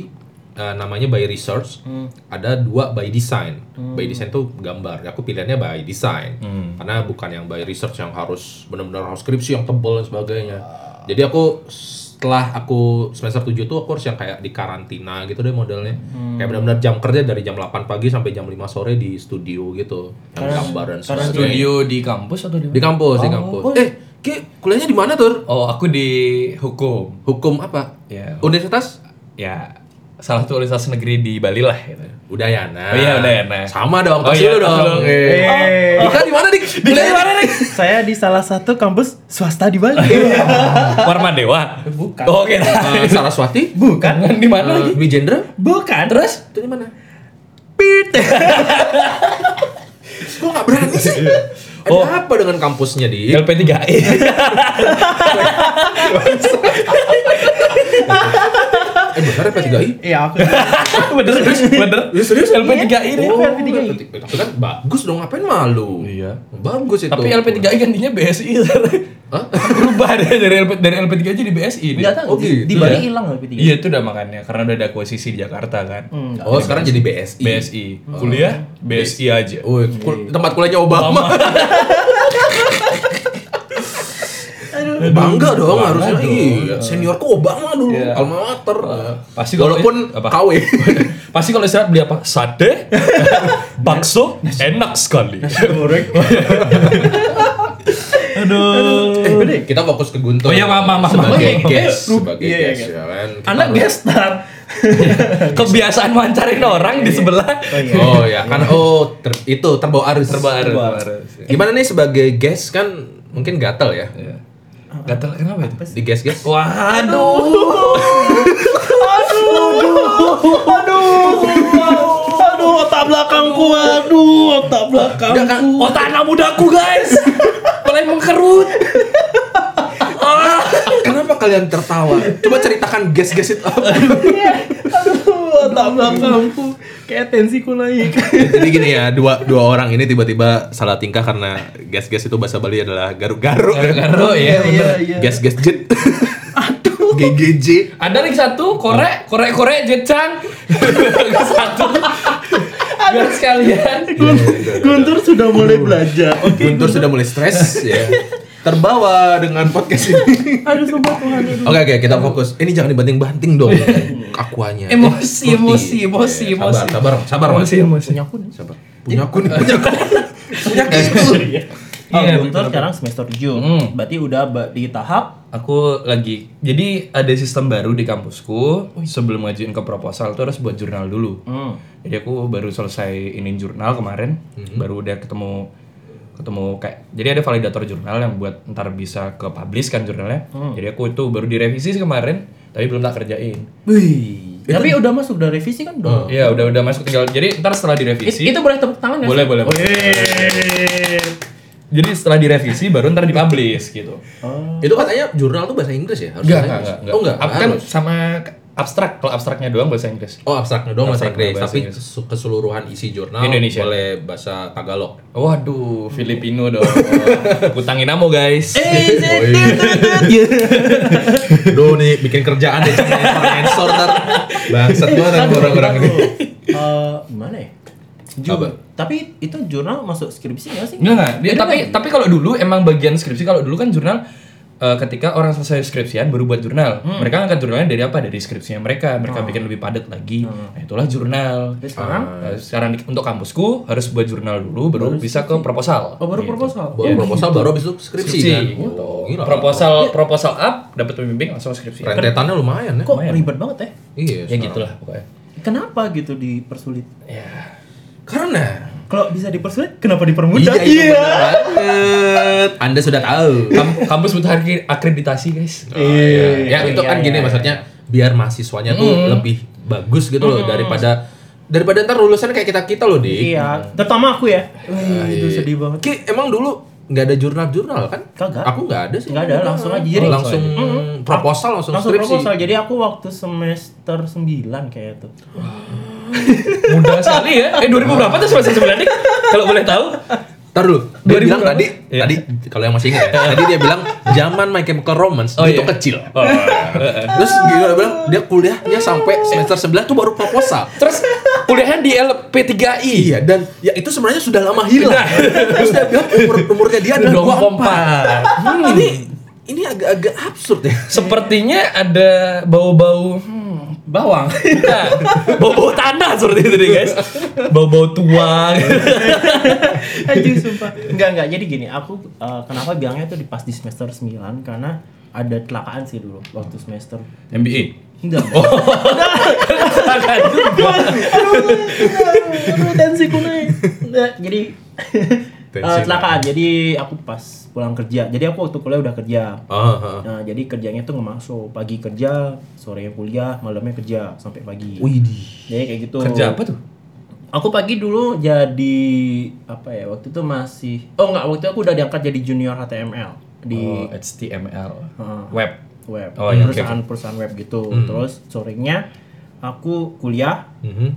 Speaker 3: eh, namanya by research. Ada dua by design. By design tuh gambar. Aku pilihannya by design. Karena bukan yang by research yang harus benar-benar harus skripsi yang tebal dan sebagainya. Jadi aku setelah aku semester 7 tuh aku harus yang kayak di karantina gitu deh modelnya. Kayak benar-benar jam kerja dari jam 8 pagi sampai jam 5 sore di studio gitu. Yang gambar dan sebagainya.
Speaker 2: (laughs) Studio di kampus atau di
Speaker 3: Di kampus, di kampus. Eh, Ki, kuliahnya di mana, Tur?
Speaker 2: Oh, aku di hukum.
Speaker 3: Hukum apa?
Speaker 2: Ya.
Speaker 3: Universitas?
Speaker 2: Ya, salah satu universitas negeri di Bali lah (laughs) gitu.
Speaker 3: Udayana.
Speaker 2: Oh iya, Udayana.
Speaker 3: Sama dong,
Speaker 2: Oh
Speaker 3: tes
Speaker 2: iya,
Speaker 3: dulu
Speaker 2: tes
Speaker 3: dong.
Speaker 2: dulu.
Speaker 3: Eh.
Speaker 5: Eh.
Speaker 3: Dika di mana, Dik? Kuliahnya di mana, Dik?
Speaker 5: Iya. Saya di salah satu kampus swasta di Bali.
Speaker 2: Iya. Warma Dewa.
Speaker 5: Bukan.
Speaker 2: Oh, Oke.
Speaker 3: Eh, Saraswati?
Speaker 5: Bukan.
Speaker 2: (laughs) Di (laughs)
Speaker 3: Eh,
Speaker 2: mana (laughs) lagi?
Speaker 3: Wijendra?
Speaker 5: Bukan. Terus?
Speaker 3: Itu di mana? (laughs) Pit. Kok nggak berani sih? Ada
Speaker 2: Oh. Iya.
Speaker 3: apa dengan kampusnya, Dik?
Speaker 2: LP3E.
Speaker 3: Eh, benar apa tiga i?
Speaker 5: Iya, aku.
Speaker 2: (laughs) bener, bener.
Speaker 3: Ya serius
Speaker 2: LP3I
Speaker 5: Iya,
Speaker 2: deh.
Speaker 3: Oh,
Speaker 5: aku LP3I.
Speaker 3: Itu kan bagus dong, ngapain malu?
Speaker 2: Iya.
Speaker 3: Bagus itu.
Speaker 2: Tapi LP3I gantinya (laughs) BSI. Sar.
Speaker 3: Hah?
Speaker 2: Berubah deh dari LP dari LP3I jadi BSI. deh.
Speaker 5: Enggak tahu.
Speaker 3: Oh,
Speaker 5: di- Di
Speaker 3: gitu
Speaker 5: Bali
Speaker 3: ya?
Speaker 5: hilang loh P3.
Speaker 2: Iya, itu udah makanya karena udah ada akuisisi di Jakarta kan.
Speaker 5: Hmm.
Speaker 3: Oh, sekarang jadi BSI.
Speaker 2: BSI. Kuliah BSI aja. (laughs)
Speaker 3: Oh, kul- tempat kuliahnya Obama. bangga dong
Speaker 2: Bangga
Speaker 3: harusnya
Speaker 2: dong.
Speaker 3: iya seniorku Obama dulu
Speaker 2: Iya.
Speaker 3: alma mater
Speaker 2: Pasti kalau-
Speaker 3: walaupun
Speaker 2: apa?
Speaker 3: (laughs) KW
Speaker 2: Pasti kalau istirahat beli apa? (laughs) Sate, bakso, enak sekali. Aduh.
Speaker 3: eh, kita fokus ke Guntur
Speaker 2: Oh iya, maaf, maaf, maaf.
Speaker 3: sebagai
Speaker 2: Maaf, maaf.
Speaker 3: guest
Speaker 5: Lu-
Speaker 3: sebagai
Speaker 5: iya, iya,
Speaker 3: guest
Speaker 5: iya.
Speaker 3: ya kan Kita
Speaker 2: (laughs) Anak
Speaker 3: harus-
Speaker 5: Gestar.
Speaker 2: Kebiasaan wawancarin orang di sebelah.
Speaker 3: oh ya kan oh ter- itu terbawa arus iya.
Speaker 2: Terbaru.
Speaker 3: gimana nih sebagai guest kan mungkin gatel ya
Speaker 2: Gatel kenapa
Speaker 3: di
Speaker 2: itu?
Speaker 3: guest guest
Speaker 2: Waduh.
Speaker 5: Aduh, otak belakangku. Aduh, otak
Speaker 3: kan.
Speaker 5: belakangku.
Speaker 2: Otak anak mudaku (laughs) guys. Mulai mengkerut.
Speaker 3: Ah, kenapa kalian tertawa coba ceritakan guest guest itu (laughs) apa
Speaker 5: Aduh, otak belakangku. Kayak tensiku naik.
Speaker 3: Jadi gini ya, dua dua orang ini tiba-tiba salah tingkah karena gas-gas itu bahasa Bali adalah garuk-garuk.
Speaker 2: Karo
Speaker 5: Iya,
Speaker 2: ya. bener.
Speaker 3: Gas-gas jet. Aduh. GGJ.
Speaker 2: Ada lagi satu korek, korek korek jecang. (laughs) satu. Biar sekalian.
Speaker 5: Guntur sudah mulai belajar.
Speaker 3: Guntur sudah mulai stres ya. Terbawa dengan podcast ini.
Speaker 5: Aduh, sumpah Tuhan. aduh.
Speaker 3: Oke oke, kita fokus. Ini jangan dibanting-banting dong. ya. Akuanya.
Speaker 2: Emosi, emosi, emosi,
Speaker 3: Iya,
Speaker 2: emosi.
Speaker 3: Sabar, sabar, sabar. Mas.
Speaker 2: emosi.
Speaker 5: Punya aku nih.
Speaker 3: Sabar. Punya aku nih, punya aku.
Speaker 2: Ya,
Speaker 3: Punya aku.
Speaker 2: gitu.
Speaker 5: Oh,
Speaker 2: Iya,
Speaker 5: Guntur
Speaker 2: betul.
Speaker 5: sekarang semester 7.
Speaker 2: Hmm.
Speaker 5: Berarti udah ba- di tahap
Speaker 2: Aku lagi. Jadi ada sistem baru di kampusku. Sebelum ngajuin ke proposal tuh harus buat jurnal dulu.
Speaker 5: Hmm.
Speaker 2: Jadi aku baru selesai inin jurnal kemarin, baru udah ketemu ketemu kayak jadi ada validator jurnal yang buat ntar bisa ke publish kan jurnalnya. Jadi aku itu baru direvisi sih kemarin, tapi belum tak kerjain.
Speaker 5: Wih. Tapi udah masuk udah revisi kan
Speaker 3: Oh.
Speaker 5: udah.
Speaker 2: Iya, udah udah masuk tinggal. Jadi ntar setelah
Speaker 5: It-
Speaker 2: direvisi
Speaker 5: itu boleh tepuk tangan ya?
Speaker 2: boleh boleh. boleh. Jadi setelah direvisi baru ntar dipublish gitu.
Speaker 3: Itu katanya jurnal tuh bahasa Inggris ya? Harus
Speaker 2: Enggak,
Speaker 3: bahasa
Speaker 2: enggak,
Speaker 3: Inggris.
Speaker 2: enggak, enggak.
Speaker 3: Oh enggak,
Speaker 2: Ab-
Speaker 3: enggak
Speaker 2: kan
Speaker 3: harus.
Speaker 2: sama abstrak, kalau abstraknya doang bahasa Inggris.
Speaker 3: Oh abstraknya doang bahasa
Speaker 2: Abstraknya
Speaker 3: Inggris,
Speaker 2: bahasa
Speaker 3: tapi
Speaker 2: Inggris.
Speaker 3: kesu- keseluruhan isi jurnal
Speaker 2: Indonesia.
Speaker 3: boleh bahasa Tagalog.
Speaker 2: Waduh, Filipino dong. Utangin namo guys.
Speaker 5: Iya.
Speaker 3: Iya. Duh nih bikin kerjaan deh sensor ntar. Bangsat banget orang-orang ini.
Speaker 5: Eh, gimana ya? Ju-
Speaker 3: Apa?
Speaker 5: tapi itu jurnal masuk skripsi nggak sih?
Speaker 2: eh, Enggak, enggak. Dia, tapi tapi kalau dulu emang bagian skripsi kalau dulu kan jurnal eh, ketika orang selesai skripsian baru buat jurnal, mereka angkat jurnalnya dari apa? Dari skripsinya mereka. Mereka bikin lebih padat lagi. Nah, itulah jurnal.
Speaker 5: Jadi sekarang
Speaker 2: Eh, Oh. sekarang di- untuk kampusku harus buat jurnal dulu baru bisa ke proposal.
Speaker 5: oh, baru proposal.
Speaker 3: Baru proposal baru habis Iya, itu skripsi,
Speaker 2: Skripsi. Gitu.
Speaker 3: kan. Oh, gila.
Speaker 2: Proposal proposal up dapat pembimbing langsung skripsi.
Speaker 3: rentetannya lumayan ya.
Speaker 5: Kok ribet banget ya?
Speaker 3: Iya.
Speaker 2: Ya gitulah pokoknya.
Speaker 5: Kenapa gitu dipersulit?
Speaker 2: Ya.
Speaker 3: Karena
Speaker 5: Kalau bisa dipersulit, kenapa
Speaker 3: Iya,
Speaker 5: dipermudah? Iya.
Speaker 3: itu bener banget. Anda sudah tahu.
Speaker 2: Kam- kampus butuh akre- akreditasi, guys.
Speaker 3: ya itu kan gini maksudnya biar mahasiswanya tuh lebih bagus gitu loh daripada daripada ntar lulusan kayak kita kita loh dik.
Speaker 5: Iya, terutama aku ya.
Speaker 3: Ah,
Speaker 5: Wih,
Speaker 3: iya,
Speaker 5: itu sedih banget.
Speaker 3: Ki, emang dulu nggak ada jurnal-jurnal kan?
Speaker 5: Kagak.
Speaker 3: Aku nggak ada sih.
Speaker 5: Nggak ada, langsung aja. Jadi-
Speaker 3: Oh, langsung proposal, langsung,
Speaker 5: Langsung
Speaker 3: skripsi.
Speaker 5: proposal. Jadi aku waktu semester 9 kayak itu.
Speaker 2: Mudah sekali ya. Eh 2000 berapa tuh semester 9 nih? Kalau boleh tahu.
Speaker 3: Ntar dulu, dia
Speaker 2: 2000
Speaker 3: bilang
Speaker 2: berapa?
Speaker 3: tadi,
Speaker 2: Iya.
Speaker 3: tadi kalau yang masih ingat ya, tadi dia bilang zaman My Chemical Romance
Speaker 2: Oh,
Speaker 3: dia
Speaker 2: iya.
Speaker 3: tuh kecil. Terus dia bilang dia kuliahnya sampai semester 11 tuh baru proposal.
Speaker 2: Terus kuliahnya di LP3I.
Speaker 3: Iya, dan ya itu sebenarnya sudah lama hilang. Terus dia bilang umur umurnya dia adalah
Speaker 2: Dong
Speaker 3: dua
Speaker 2: kompak.
Speaker 3: Ini ini agak-agak absurd ya.
Speaker 2: Sepertinya ada bau-bau hmm, bawang. Bukan. bau-bau tanah seperti itu nih, guys. Bau-bau tua.
Speaker 5: (laughs) Anjing sumpah. Enggak enggak. Jadi gini, aku eh, kenapa bilangnya itu di pas di semester 9 karena ada kecelakaan sih dulu waktu semester.
Speaker 2: MBA.
Speaker 5: Enggak. Oh. Aduh, tensi ku naik. Enggak, jadi eh,
Speaker 3: Tensi
Speaker 5: kecelakaan. Jadi aku pas pulang kerja. Jadi aku waktu kuliah udah kerja. Nah, jadi kerjanya tuh nggak masuk. Pagi kerja, sorenya kuliah, malamnya kerja sampai pagi.
Speaker 3: Widih.
Speaker 5: Jadi kayak gitu.
Speaker 2: Kerja apa tuh?
Speaker 5: Aku pagi dulu jadi apa ya? Waktu itu masih oh nggak waktu itu aku udah diangkat jadi junior HTML di
Speaker 2: Oh, HTML.
Speaker 5: Heeh.
Speaker 2: Web.
Speaker 5: web
Speaker 2: Oh, iya, Hmm.
Speaker 5: perusahaan perusahaan web gitu. Terus sorenya aku kuliah
Speaker 2: Mhm.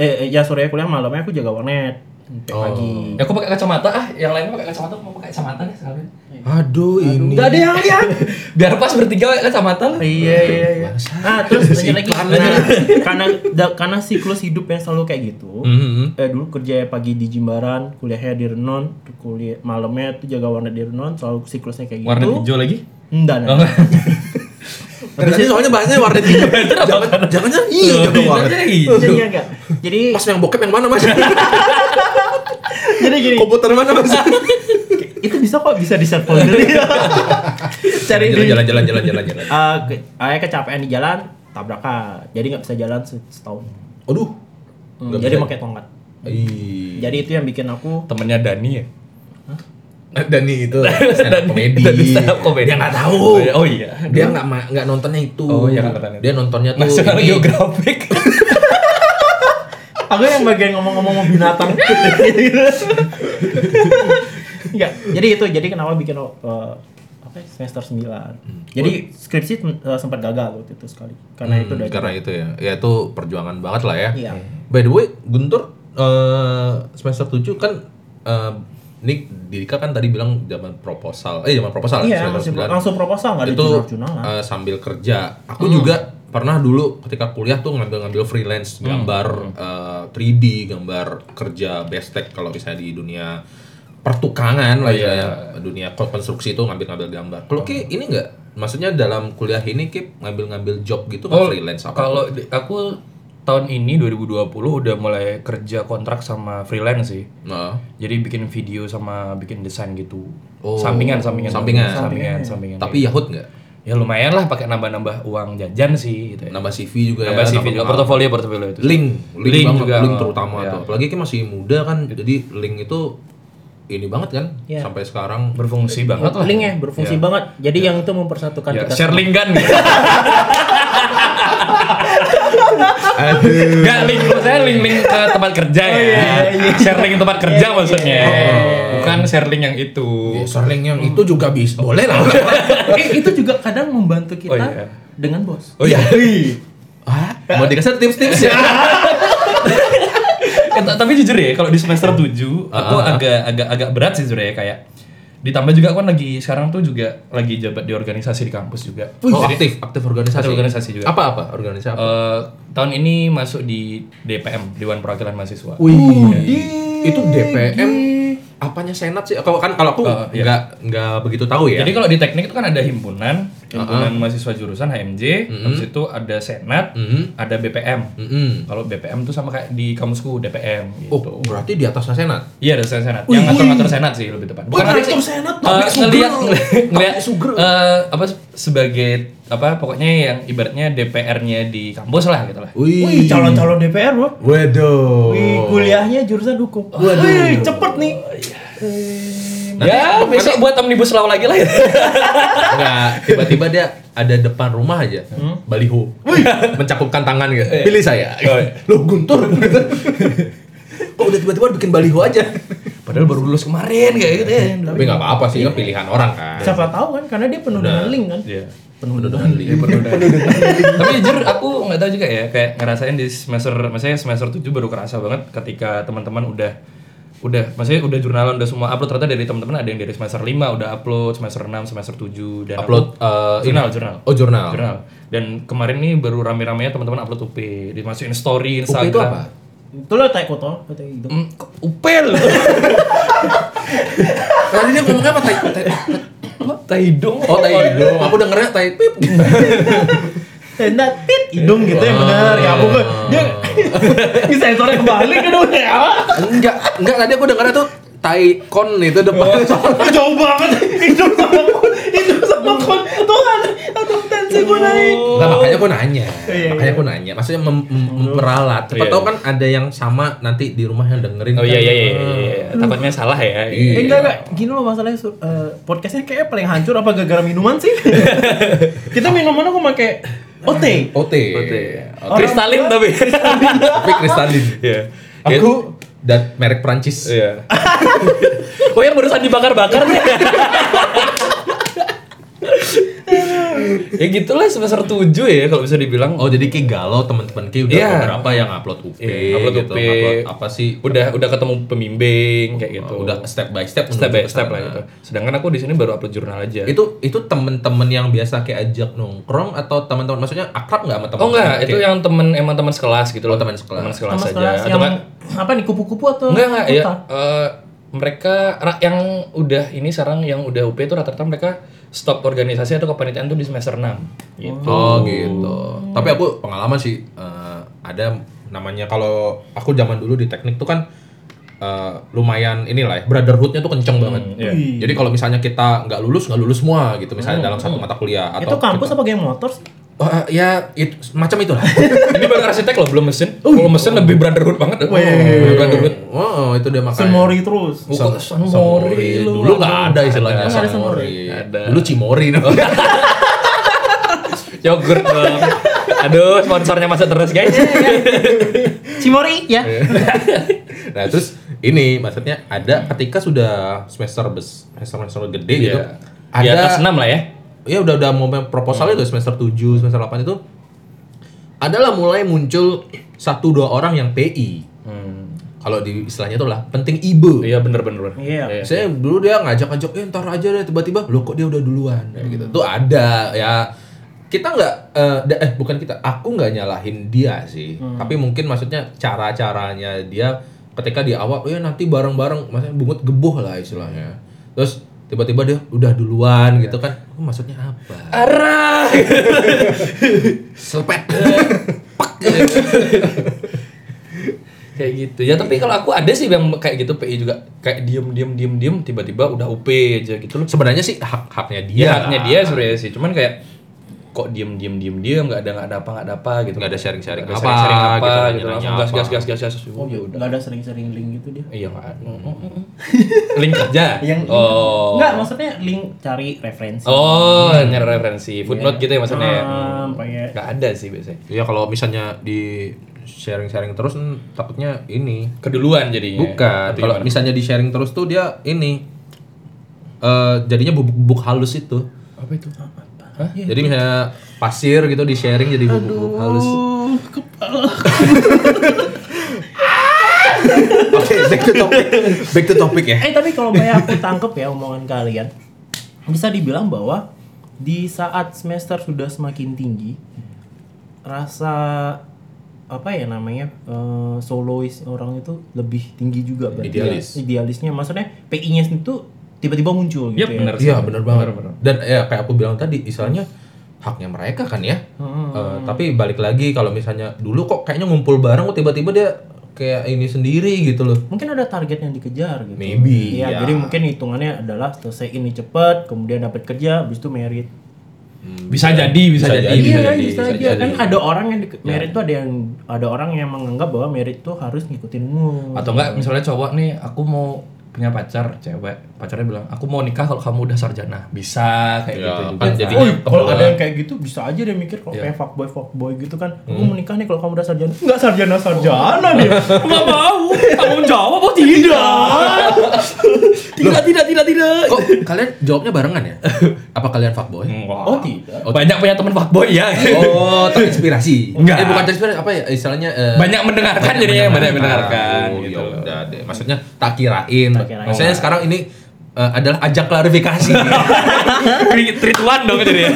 Speaker 5: eh eh, ya sorenya kuliah malamnya aku jaga warnet sampai pagi.
Speaker 2: Ya, aku pakai kacamata ah, yang lain pakai kacamata, aku mau pakai kacamata nih sekalian.
Speaker 3: Aduh ini.
Speaker 5: Gak ada yang lihat.
Speaker 2: Biar pas bertiga pakai kacamata lah.
Speaker 5: Iya iya iya. Nah terus lanjut lagi
Speaker 3: Iklan
Speaker 5: karena karena da- karena siklus hidup yang selalu kayak gitu. Eh dulu kerja pagi di Jimbaran, kuliahnya di Renon, kuliah malamnya tuh jaga warnet di Renon, selalu siklusnya kayak gitu.
Speaker 2: Warna hijau lagi.
Speaker 5: Enggak,
Speaker 2: Oh,
Speaker 5: enggak.
Speaker 3: Tadi soalnya bahasanya warnet (laughs) hijau. jangan jangan jangan iya jangan warnet.
Speaker 2: Warna hijau.
Speaker 5: Jadi enggak. Jadi
Speaker 3: Pas yang bokep yang mana (laughs) mas?
Speaker 5: jadi gini,
Speaker 3: Komputer mana mas?
Speaker 5: (laughs) itu bisa kok bisa di share folder. (laughs) Cari di
Speaker 3: jalan jalan jalan jalan jalan.
Speaker 5: Eh, ke- ayah kecapean di jalan, tabrakan. Jadi nggak bisa jalan se- setahun.
Speaker 3: Aduh.
Speaker 5: Hmm, jadi pakai tongkat.
Speaker 3: Ih.
Speaker 5: Jadi itu yang bikin aku
Speaker 2: Temennya Dani ya.
Speaker 3: Dani itu stand up comedy.
Speaker 2: Dani stand up comedy.
Speaker 3: Dia nggak tahu.
Speaker 2: Oh iya.
Speaker 3: Dia nggak ma- nggak nontonnya itu.
Speaker 2: Oh, iya, nggak nontonnya itu.
Speaker 3: Dia nontonnya
Speaker 5: Oh,
Speaker 3: tuh.
Speaker 2: National
Speaker 3: ini.
Speaker 2: Geographic.
Speaker 5: (laughs) aku yang bagian ngomong-ngomong sama binatang ya jadi itu jadi kenapa bikin eh, apa ya, semester 9 jadi skripsi eh, sempat gagal waktu itu sekali karena itu
Speaker 3: Hmm,
Speaker 5: udah
Speaker 3: karena itu ya ya itu perjuangan banget lah ya
Speaker 5: Iya.
Speaker 3: by the way Guntur eh, semester 7 kan eh, Nick Dika kan tadi bilang zaman proposal eh zaman proposal
Speaker 5: iya
Speaker 3: semester
Speaker 5: masih
Speaker 3: sembilan.
Speaker 5: langsung proposal nggak ada
Speaker 3: itu
Speaker 5: jurnal-jurnalan
Speaker 3: eh, sambil kerja aku
Speaker 2: Hmm.
Speaker 3: juga pernah dulu ketika kuliah tuh ngambil-ngambil freelance
Speaker 2: Hmm.
Speaker 3: gambar eh, 3D gambar kerja bestek kalau misalnya di dunia pertukangan
Speaker 2: Iya,
Speaker 3: lah ya dunia konstruksi itu ngambil-ngambil gambar kalau Ki,
Speaker 2: Hmm.
Speaker 3: ini enggak maksudnya dalam kuliah ini Ki ngambil-ngambil job gitu
Speaker 2: Oh.
Speaker 3: nggak freelance apa
Speaker 2: Kalau di- aku tahun ini 2020 udah mulai kerja kontrak sama freelance sih.
Speaker 3: Nah.
Speaker 2: Jadi bikin video sama bikin desain gitu.
Speaker 3: Oh.
Speaker 2: Sampingan, sampingan,
Speaker 3: Sampingan.
Speaker 2: sampingan, sampingan.
Speaker 3: Tapi Yahut nggak?
Speaker 2: ya lumayan lah pakai nambah-nambah uang jajan sih gitu. Ya.
Speaker 3: Nambah CV juga
Speaker 2: Nambah
Speaker 3: ya.
Speaker 2: CV juga, portofolio, portofolio itu.
Speaker 3: Link, link,
Speaker 2: Link
Speaker 3: banget,
Speaker 2: juga.
Speaker 3: link terutama
Speaker 2: Iya.
Speaker 3: tuh. Apalagi kan masih muda kan, jadi link itu ini banget kan
Speaker 5: Iya.
Speaker 3: sampai sekarang. Iya.
Speaker 2: Berfungsi banget lah.
Speaker 5: linknya berfungsi banget jadi yang itu mempersatukan
Speaker 2: Ya,
Speaker 5: kita
Speaker 2: share link kan.
Speaker 3: Aduh.
Speaker 2: Enggak link saya link link ke tempat kerja ya. Share link tempat kerja maksudnya. Bukan share link yang itu.
Speaker 3: Ya, sering yang itu juga bisa. Boleh lah.
Speaker 5: (laughs) Eh, itu juga kadang membantu kita
Speaker 2: Oh, iya.
Speaker 5: dengan bos
Speaker 2: Oh iya.
Speaker 3: Hah? Mau dikasih tips-tips ya?
Speaker 2: Eh, ta- tapi jujur ya, kalau di semester 7 aku agak agak agak berat sih sebenarnya kayak ditambah juga kan lagi sekarang tuh juga lagi jabat di organisasi di kampus juga.
Speaker 3: Oh,
Speaker 2: Jadi,
Speaker 3: aktif, aktif organisasi. Uh,
Speaker 2: Aktif organisasi juga.
Speaker 3: Apa-apa organisasi apa?
Speaker 2: eh, tahun ini masuk di DPM Dewan Perwakilan Mahasiswa.
Speaker 3: Wih, itu DPM apanya senat sih? Kalau kan kalau aku
Speaker 2: Oh, iya.
Speaker 3: nggak nggak begitu tahu ya.
Speaker 2: Jadi kalau di teknik itu kan ada himpunan, himpunan mahasiswa jurusan HMJ, habis itu ada senat,
Speaker 3: Mm-mm.
Speaker 2: ada BPM.
Speaker 3: Mm-mm.
Speaker 2: Kalau BPM tuh sama kayak di kampusku DPM
Speaker 3: Hmm. Oh,
Speaker 2: gitu.
Speaker 3: berarti di atasnya senat.
Speaker 2: Iya ada senat senat. Yang ngatur-ngatur senat sih lebih tepat.
Speaker 3: Wah,
Speaker 2: ngatur
Speaker 3: direktur
Speaker 2: sih.
Speaker 3: senat,
Speaker 2: Eh,
Speaker 3: Pak Suger.
Speaker 2: ngeliat ngeliat
Speaker 3: Pak Suger.
Speaker 2: eh, apa sebagai apa pokoknya yang ibaratnya DPR-nya di kampus lah gitu lah.
Speaker 5: Wih, calon-calon DPR bro.
Speaker 3: Waduh.
Speaker 5: Wih, kuliahnya jurusan hukum. Wih, cepet nih. Eh,
Speaker 2: Ya besok buat omnibus law lagi lah. ya.
Speaker 3: Enggak, tiba-tiba dia ada depan rumah aja. Baliho. Mencakupkan tangan gitu. Pilih saya.
Speaker 2: Oh, Hmm? iya.
Speaker 3: Loh, Guntur. Kok udah tiba-tiba bikin baliho aja?
Speaker 2: Padahal baru lulus kemarin kayak gitu ya.
Speaker 3: Tapi nggak apa-apa sih, kan pilihan orang kan.
Speaker 5: Siapa tahu kan karena dia penuh dengan
Speaker 3: Udah.
Speaker 5: link kan.
Speaker 2: Iya.
Speaker 3: Penuh dengan link.
Speaker 2: Tapi jujur aku nggak tahu juga ya kayak ngerasain di semester maksudnya semester 7 baru kerasa banget ketika teman-teman udah udah maksudnya udah jurnalan udah semua upload ternyata dari teman-teman ada yang dari semester 5 udah upload semester 6 semester 7 dan
Speaker 3: Upload
Speaker 2: aku-
Speaker 3: eh, ini.
Speaker 2: jurnal jurnal.
Speaker 3: Oh, jurnal.
Speaker 2: Jurnal. Dan kemarin nih baru rame-ramenya teman-teman upload UP, dimasukin story
Speaker 3: UP
Speaker 2: Instagram.
Speaker 3: itu apa?
Speaker 5: Itu lo taekwondo kata gitu.
Speaker 2: Hmm, kok upel.
Speaker 3: Tadi dia ngomongnya apa? Tai, tai,
Speaker 2: Tai hidung.
Speaker 3: oh, tai hidung. Aku dengernya tai pip.
Speaker 5: Tenda Eh, tit hidung gitu ya benar. Ya aku kan- dia ini sensornya kebalik kan udah ya.
Speaker 3: Enggak, enggak tadi aku dengernya tuh tai kon itu depan.
Speaker 5: Jauh banget hidung sama kon, hidung sama kon. Tuhan, aduh tensi gue naik.
Speaker 3: Nah,
Speaker 2: Oh.
Speaker 3: makanya aku nanya.
Speaker 5: Iya, iya.
Speaker 3: makanya aku nanya. Maksudnya mem- mem- memperalat. Siapa
Speaker 2: Iya.
Speaker 3: tahu kan ada yang sama nanti di rumah yang dengerin.
Speaker 2: Oh
Speaker 3: kan.
Speaker 2: iya iya iya, iya, iya. Takutnya salah ya.
Speaker 3: Hmm. Iya.
Speaker 5: Eh, enggak enggak, gini loh masalahnya su- eh, podcast ini kayaknya paling hancur apa gara-gara minuman sih? Kita minuman aku pakai OT.
Speaker 3: OT.
Speaker 2: Oke.
Speaker 3: Oke.
Speaker 2: Iya. Kristalin tapi.
Speaker 3: Tapi kristalin.
Speaker 2: (laughs) Iya.
Speaker 3: Aku dan merek Prancis. (laughs)
Speaker 2: Iya. oh yang barusan dibakar-bakar nih. ya gitulah semester 7 ya kalau bisa dibilang.
Speaker 3: Oh jadi kayak galau teman-teman kayak udah
Speaker 2: Iya.
Speaker 3: beberapa yang upload UP,
Speaker 2: Iya, upload
Speaker 3: gitu,
Speaker 2: UP.
Speaker 3: upload apa sih?
Speaker 2: udah udah ketemu pembimbing kayak gitu.
Speaker 3: Udah step by step.
Speaker 2: step by
Speaker 3: menuju ke
Speaker 2: step
Speaker 3: sana.
Speaker 2: lah gitu. Sedangkan aku di sini baru upload jurnal aja.
Speaker 3: Itu itu temen-temen yang biasa kayak ajak nongkrong atau teman-teman maksudnya akrab nggak sama teman?
Speaker 2: oh enggak, itu yang temen emang teman sekelas gitu loh.
Speaker 3: teman sekelas.
Speaker 2: Teman sekelas
Speaker 5: Sama
Speaker 2: aja.
Speaker 5: kelas
Speaker 2: Atau
Speaker 5: yang
Speaker 2: enggak-
Speaker 5: apa nih kupu-kupu atau
Speaker 2: Enggak enggak ya.
Speaker 5: kuta?
Speaker 2: eh, mereka ra- yang udah ini sekarang yang udah UP itu rata-rata mereka stop organisasi atau kepanitiaan tuh di semester 6 gitu.
Speaker 3: Oh gitu. Tapi aku pengalaman sih eh, ada namanya kalau aku zaman dulu di teknik tuh kan eh, lumayan inilah ya, brotherhoodnya tuh kenceng banget.
Speaker 5: Hmm,
Speaker 2: iya.
Speaker 3: Jadi kalau misalnya kita nggak lulus nggak lulus semua gitu misalnya dalam satu mata kuliah atau
Speaker 5: Hmm, Itu kampus apa geng motor sih?
Speaker 3: Eh, ya Oh, iya. itu macam itulah.
Speaker 2: (laughs) Ini baru arsitek loh, belum mesin. Kalau mesin lebih brotherhood
Speaker 3: iya,
Speaker 2: banget. Lebih brotherhood.
Speaker 3: oh, itu dia makanya.
Speaker 5: Semori terus.
Speaker 3: Sem-
Speaker 2: Bukan Samori
Speaker 3: Samori.
Speaker 2: lu,
Speaker 3: Dulu nggak ada istilahnya
Speaker 5: Nggak ada
Speaker 3: Samori.
Speaker 2: Samori. Ada.
Speaker 3: Dulu Cimori namanya.
Speaker 2: Yogurt dong. (laughs) Aduh, sponsornya masuk terus guys.
Speaker 5: Cimori ya.
Speaker 3: (laughs) nah terus ini maksudnya ada ketika sudah semester bes semester semester gede gitu
Speaker 2: Iya.
Speaker 3: ada
Speaker 2: Di atas 6 lah ya.
Speaker 3: ya udah udah mau
Speaker 2: Hmm.
Speaker 3: proposalnya udah semester 7 semester 8 itu adalah mulai muncul satu dua orang yang PI kalau di istilahnya itu lah penting ibu
Speaker 2: Hmm, Iya bener bener. bener.
Speaker 5: Iya.
Speaker 3: saya dulu dia ngajak-ngajak eh ntar aja deh tiba-tiba loh kok dia udah duluan
Speaker 2: Hmm.
Speaker 3: Kayak gitu tuh ada ya kita nggak eh, da- eh bukan kita aku nggak nyalahin dia sih
Speaker 2: Hmm.
Speaker 3: tapi mungkin maksudnya cara caranya dia ketika di awal ya nanti bareng-bareng maksudnya bungut gebuh lah istilahnya terus tiba-tiba dia udah duluan
Speaker 2: Iya.
Speaker 3: gitu kan oh, maksudnya apa
Speaker 2: Arah.
Speaker 3: selepet
Speaker 2: (laughs) kayak gitu. Ya tapi kalau aku ada sih yang kayak gitu PI juga kayak diem diem diem diem tiba-tiba udah UP aja gitu loh.
Speaker 3: (clears throat) sebenarnya sih hak haknya dia
Speaker 2: Ya haknya
Speaker 3: lah.
Speaker 2: dia sebenarnya sih. Cuman kayak kok diem diem diem diem nggak ada nggak ada apa nggak ada apa gitu.
Speaker 3: Nggak ada sharing-sharing
Speaker 2: Nggak ada
Speaker 3: apa,
Speaker 2: sharing-sharing apa,
Speaker 3: gitu,
Speaker 2: gitu.
Speaker 3: nanya-nanya
Speaker 2: Langsung gas
Speaker 3: apa.
Speaker 2: gas gas gas gas. Oh ya udah.
Speaker 5: Enggak ada sering-sering link gitu dia.
Speaker 2: Iya nggak ada. Link kerja.
Speaker 5: Yang
Speaker 2: oh.
Speaker 5: Enggak, maksudnya link cari referensi.
Speaker 2: Oh, nyari referensi, footnote gitu ya maksudnya. ya?
Speaker 5: Ah, pakai
Speaker 2: Nggak ada sih biasanya.
Speaker 3: ya kalau misalnya di sharing-sharing terus hmm, takutnya ini
Speaker 2: Keduluan jadinya.
Speaker 3: Bukan.
Speaker 2: Iya. Atau
Speaker 3: Kalau
Speaker 2: gimana?
Speaker 3: misalnya di sharing terus tuh dia ini eh jadinya bubuk-bubuk halus itu.
Speaker 2: apa itu? Iya.
Speaker 3: Jadi misalnya pasir gitu di sharing jadi bubuk-bubuk halus. (laughs) Oke, back to topic. Back to topic ya.
Speaker 5: Eh tapi kalau kayak aku tangkep ya omongan kalian Bisa dibilang bahwa Di saat semester sudah semakin tinggi Rasa apa ya namanya eh, solois orang itu lebih tinggi juga berarti ya.
Speaker 3: Idealis.
Speaker 5: idealisnya maksudnya PI-nya itu tiba-tiba muncul gitu
Speaker 2: Yap,
Speaker 5: ya
Speaker 2: benar sih.
Speaker 3: Iya benar banget.
Speaker 2: benar.
Speaker 3: Dan ya kayak aku bilang tadi, istilahnya haknya mereka kan ya.
Speaker 2: Hmm.
Speaker 3: Eh, tapi balik lagi kalau misalnya dulu kok kayaknya ngumpul bareng, kok tiba-tiba dia kayak ini sendiri gitu loh.
Speaker 5: mungkin ada target yang dikejar gitu
Speaker 3: Maybe,
Speaker 5: Iya,
Speaker 3: ya.
Speaker 5: jadi mungkin hitungannya adalah selesai ini cepat kemudian dapat kerja habis itu merit
Speaker 2: Bisa jadi,
Speaker 3: Bisa
Speaker 2: bisa, jadi.
Speaker 3: jadi.
Speaker 2: bisa
Speaker 5: Iya,
Speaker 2: jadi.
Speaker 5: bisa
Speaker 3: bisa
Speaker 5: aja
Speaker 3: jadi.
Speaker 5: kan ada orang yang di- merit tuh ada yang ada orang yang menganggap bahwa merit tuh harus ngikutin umur.
Speaker 2: Atau enggak misalnya cowok nih, aku mau punya pacar cewek, pacarnya bilang, "Aku mau nikah kalau kamu udah sarjana." Bisa kayak
Speaker 3: Ya,
Speaker 2: gitu juga.
Speaker 3: kan jadi
Speaker 5: Oh, kalau ada yang kayak gitu bisa aja dia mikir kalau kayak fuckboy fuckboy gitu kan, aku menikah nih kalau kamu udah sarjana. Enggak sarjana sarjana dia. Enggak mau. Tanggung jawab oh tidak. tidak tidak tidak tidak.
Speaker 3: Kok Eh, (laughs) kalian jawabnya barengan (laughs) ya? Apa kalian fuckboy?
Speaker 2: Wah.
Speaker 5: Oh tidak.
Speaker 2: Banyak punya teman fuckboy
Speaker 3: (laughs)
Speaker 2: ya.
Speaker 3: Oh, terinspirasi.
Speaker 2: Enggak.
Speaker 3: Eh, bukan terinspirasi, apa ya? Istilahnya eh,
Speaker 2: banyak mendengarkan jadinya yang banyak mendengarkan
Speaker 3: Oh,
Speaker 2: gitu.
Speaker 3: ya udah deh. Maksudnya tak kirain.
Speaker 5: Tak kirain.
Speaker 2: Oh.
Speaker 3: Maksudnya sekarang ini eh, adalah ajak klarifikasi.
Speaker 2: (laughs) Tri- Trituan dong jadi.
Speaker 5: Eh,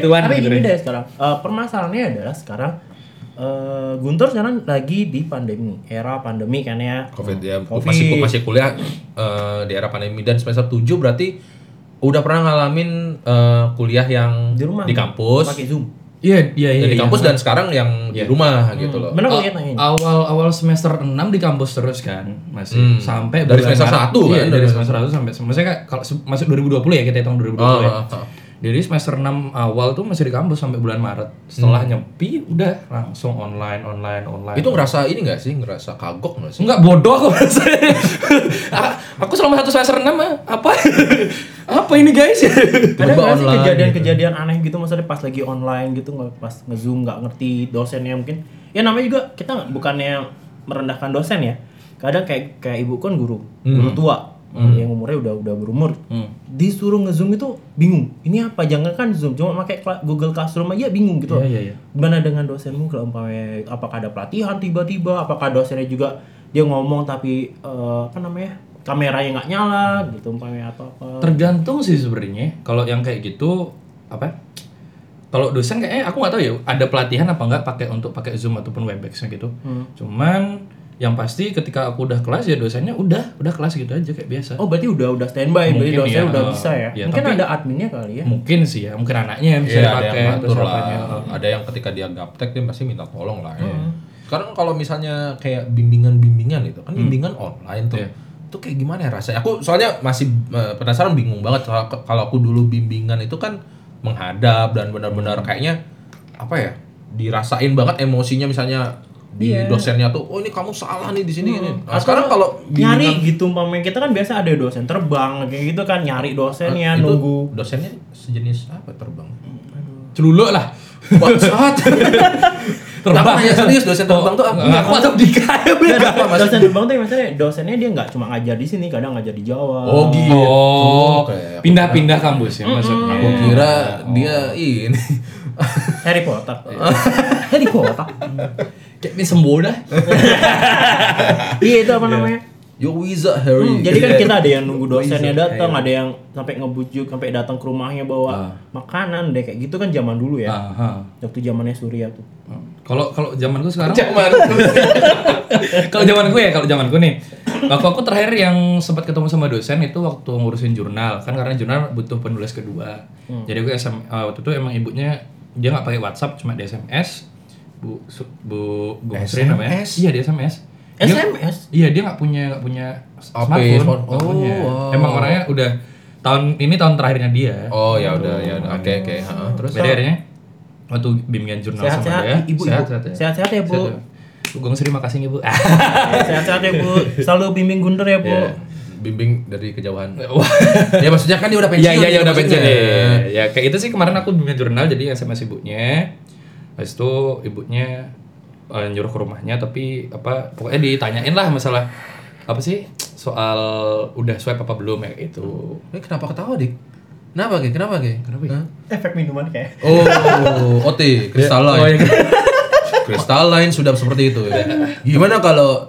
Speaker 2: Trituan.
Speaker 5: tapi
Speaker 2: gitu
Speaker 5: ini
Speaker 2: deh.
Speaker 5: deh sekarang. Eh, permasalahannya adalah sekarang eh, Guntur sekarang lagi di pandemi, era pandemi kan ya.
Speaker 3: Covid ya,
Speaker 5: Covid.
Speaker 3: masih masih kuliah eh, di era pandemi dan semester 7 berarti udah pernah ngalamin eh, kuliah yang
Speaker 5: Di rumah.
Speaker 3: kampus.
Speaker 5: Pakai Zoom.
Speaker 2: Iya, iya, iya.
Speaker 3: Ya, di
Speaker 2: iya.
Speaker 3: kampus dan sekarang yang di
Speaker 2: Iya.
Speaker 3: rumah gitu loh.
Speaker 5: Benar
Speaker 2: Aw-
Speaker 5: kok ya nanyain.
Speaker 2: awal awal semester 6 di kampus terus kan masih
Speaker 3: Hmm.
Speaker 2: sampai
Speaker 3: Dari
Speaker 2: bulan
Speaker 3: semester
Speaker 2: Maret.
Speaker 3: satu
Speaker 2: Iya,
Speaker 3: kan?
Speaker 2: dari semester 1 sampai maksudnya kayak kalau se- masuk 2020 ya kita hitung 2020 ya.
Speaker 3: Ah, ah, ah.
Speaker 2: Jadi semester 6 awal tuh masih di kampus sampai bulan Maret. Setelah nyepi udah langsung online online online.
Speaker 3: Hmm. Itu ngerasa ini gak sih? Ngerasa kagok gak sih?
Speaker 2: Enggak bodoh aku (laughs) merasa. A- aku selama satu semester 6 apa? (laughs) apa ini guys? (laughs)
Speaker 5: ada
Speaker 3: Berubah
Speaker 5: nggak sih
Speaker 3: online
Speaker 5: kejadian-kejadian aneh gitu maksudnya pas lagi online gitu nggak pas ngezoom nggak ngerti dosennya mungkin ya namanya juga kita nggak- bukannya merendahkan dosen ya kadang kayak kayak ibu kan guru
Speaker 2: Hmm.
Speaker 5: guru tua yang umurnya udah udah berumur disuruh ngezoom itu bingung ini apa jangan kan zoom cuma pakai kla- Google Classroom aja bingung gitu
Speaker 2: Iya, iya, iya.
Speaker 5: gimana dengan dosenmu kalau umpamanya apakah ada pelatihan tiba-tiba apakah dosennya juga dia ngomong tapi eh, apa namanya kameranya nggak nyala gitu umpamanya atau apa
Speaker 2: Tergantung sih sebenarnya. Kalau yang kayak gitu apa? Kalau dosen kayaknya aku nggak tahu ya ada pelatihan apa nggak pakai untuk pakai Zoom ataupun Webex gitu.
Speaker 3: Hmm.
Speaker 2: Cuman yang pasti ketika aku udah kelas ya dosennya udah udah kelas gitu aja kayak biasa.
Speaker 5: Oh berarti udah udah standby, berarti
Speaker 2: Mungkin
Speaker 5: dosen
Speaker 2: ya,
Speaker 5: udah
Speaker 2: uh,
Speaker 5: bisa ya?
Speaker 2: ya,
Speaker 5: Mungkin
Speaker 2: tapi-
Speaker 5: ada adminnya kali ya?
Speaker 2: Mungkin sih ya, mungkin anaknya yang bisa
Speaker 3: Iya, ada
Speaker 2: dipakai
Speaker 3: yang
Speaker 2: atau
Speaker 3: ngatur lah.
Speaker 2: siapanya.
Speaker 3: Ada yang ketika dia gaptek dia pasti minta tolong lah. Ya. Sekarang kalau misalnya kayak bimbingan-bimbingan itu kan bimbingan online tuh.
Speaker 2: Iya.
Speaker 3: Itu kayak gimana ya rasanya? Aku soalnya masih eh, penasaran bingung banget kalau kalau aku dulu bimbingan itu kan menghadap dan benar-benar kayaknya apa ya? dirasain banget emosinya misalnya di
Speaker 5: Iya.
Speaker 3: dosennya tuh, oh ini kamu salah nih di sini ini. Nah,
Speaker 5: Atau
Speaker 3: sekarang kalau
Speaker 5: Hmm. nyari
Speaker 3: bimbingan-
Speaker 5: gitu umpamanya kita kan biasa ada dosen terbang kayak gitu kan nyari
Speaker 3: eh,
Speaker 5: dosennya
Speaker 3: Ah, itu (laughs)
Speaker 5: nunggu.
Speaker 3: dosennya sejenis apa ya, terbang?
Speaker 2: Celuluk lah.
Speaker 3: Iya, (laughs) Bangsat. terbang ya serius dosen terbang tuh apa?
Speaker 2: Nggak, aku atau di
Speaker 5: Nah, dosen terbang tuh maksudnya dosennya dia nggak cuma ngajar di sini, kadang ngajar di Jawa.
Speaker 3: Oh gitu.
Speaker 2: Oh,
Speaker 3: Kayak- Hmm,
Speaker 2: pindah-pindah kampus ya maksudnya.
Speaker 3: Aku kira dia ini. (laughs)
Speaker 5: Harry Potter. Harry Potter.
Speaker 2: Kayak ini sembuh dah.
Speaker 5: Iya itu apa namanya?
Speaker 3: Yo wizard Harry.
Speaker 5: Hmm, jadi kan kita ada yang nunggu dosennya datang, ada yang sampai ngebujuk, sampai datang ke rumahnya bawa makanan deh kayak gitu kan zaman dulu
Speaker 3: Iya.
Speaker 5: ya.
Speaker 2: Aha.
Speaker 5: Waktu zamannya Surya tuh.
Speaker 2: Kalau kalau zamanku sekarang
Speaker 3: Zaman.
Speaker 2: (laughs) kalau zamanku ya, kalau zamanku nih. Waktu aku terakhir yang sempat ketemu sama dosen itu waktu ngurusin jurnal, kan karena jurnal butuh penulis kedua. Jadi aku SM, eh, waktu itu emang ibunya dia nggak pakai WhatsApp, cuma di SMS. Bu Su- Bu Bu Sri namanya. Iya, di SMS. Dia-
Speaker 5: SMS?
Speaker 2: Iya dia nggak punya nggak punya
Speaker 3: HP,
Speaker 2: smartphone.
Speaker 3: smart-
Speaker 2: nggak
Speaker 3: oh,
Speaker 2: punya.
Speaker 3: wow.
Speaker 2: Emang orangnya udah tahun ini tahun terakhirnya dia.
Speaker 3: Oh ya udah ya udah. Oke oke. ha, ha. Terus
Speaker 2: Terus Jadi akhirnya waktu bimbingan jurnal
Speaker 5: Sehat-sehat,
Speaker 2: sama dia. ya?
Speaker 5: ibu, ibu. Sehat-sehat ya, Bu.
Speaker 2: Sehat, Bu Gong Sri makasih nih Bu. (laughs)
Speaker 5: (laughs) Sehat-sehat ya Bu, selalu bimbing Guntur ya Bu.
Speaker 2: Iya.
Speaker 3: bimbing dari (laughs) kejauhan.
Speaker 2: Wah.
Speaker 3: ya maksudnya kan dia udah pensiun.
Speaker 2: Iya iya iya udah pensiun
Speaker 3: maksudnya.
Speaker 2: ya. Ya kayak itu sih kemarin aku bimbingan jurnal jadi SMS ibunya. Habis itu ibunya eh, nyuruh ke rumahnya tapi apa pokoknya ditanyain lah masalah apa sih soal udah swipe apa belum ya itu
Speaker 3: Eh, kenapa ketawa, Dik? Kenapa, Ge? Kenapa, Ge? Kenapa, iya?
Speaker 5: Efek minuman kayak.
Speaker 3: Oh, OT, crystalline.
Speaker 2: Oh, iya.
Speaker 3: crystalline sudah seperti itu. ya. Gimana kalau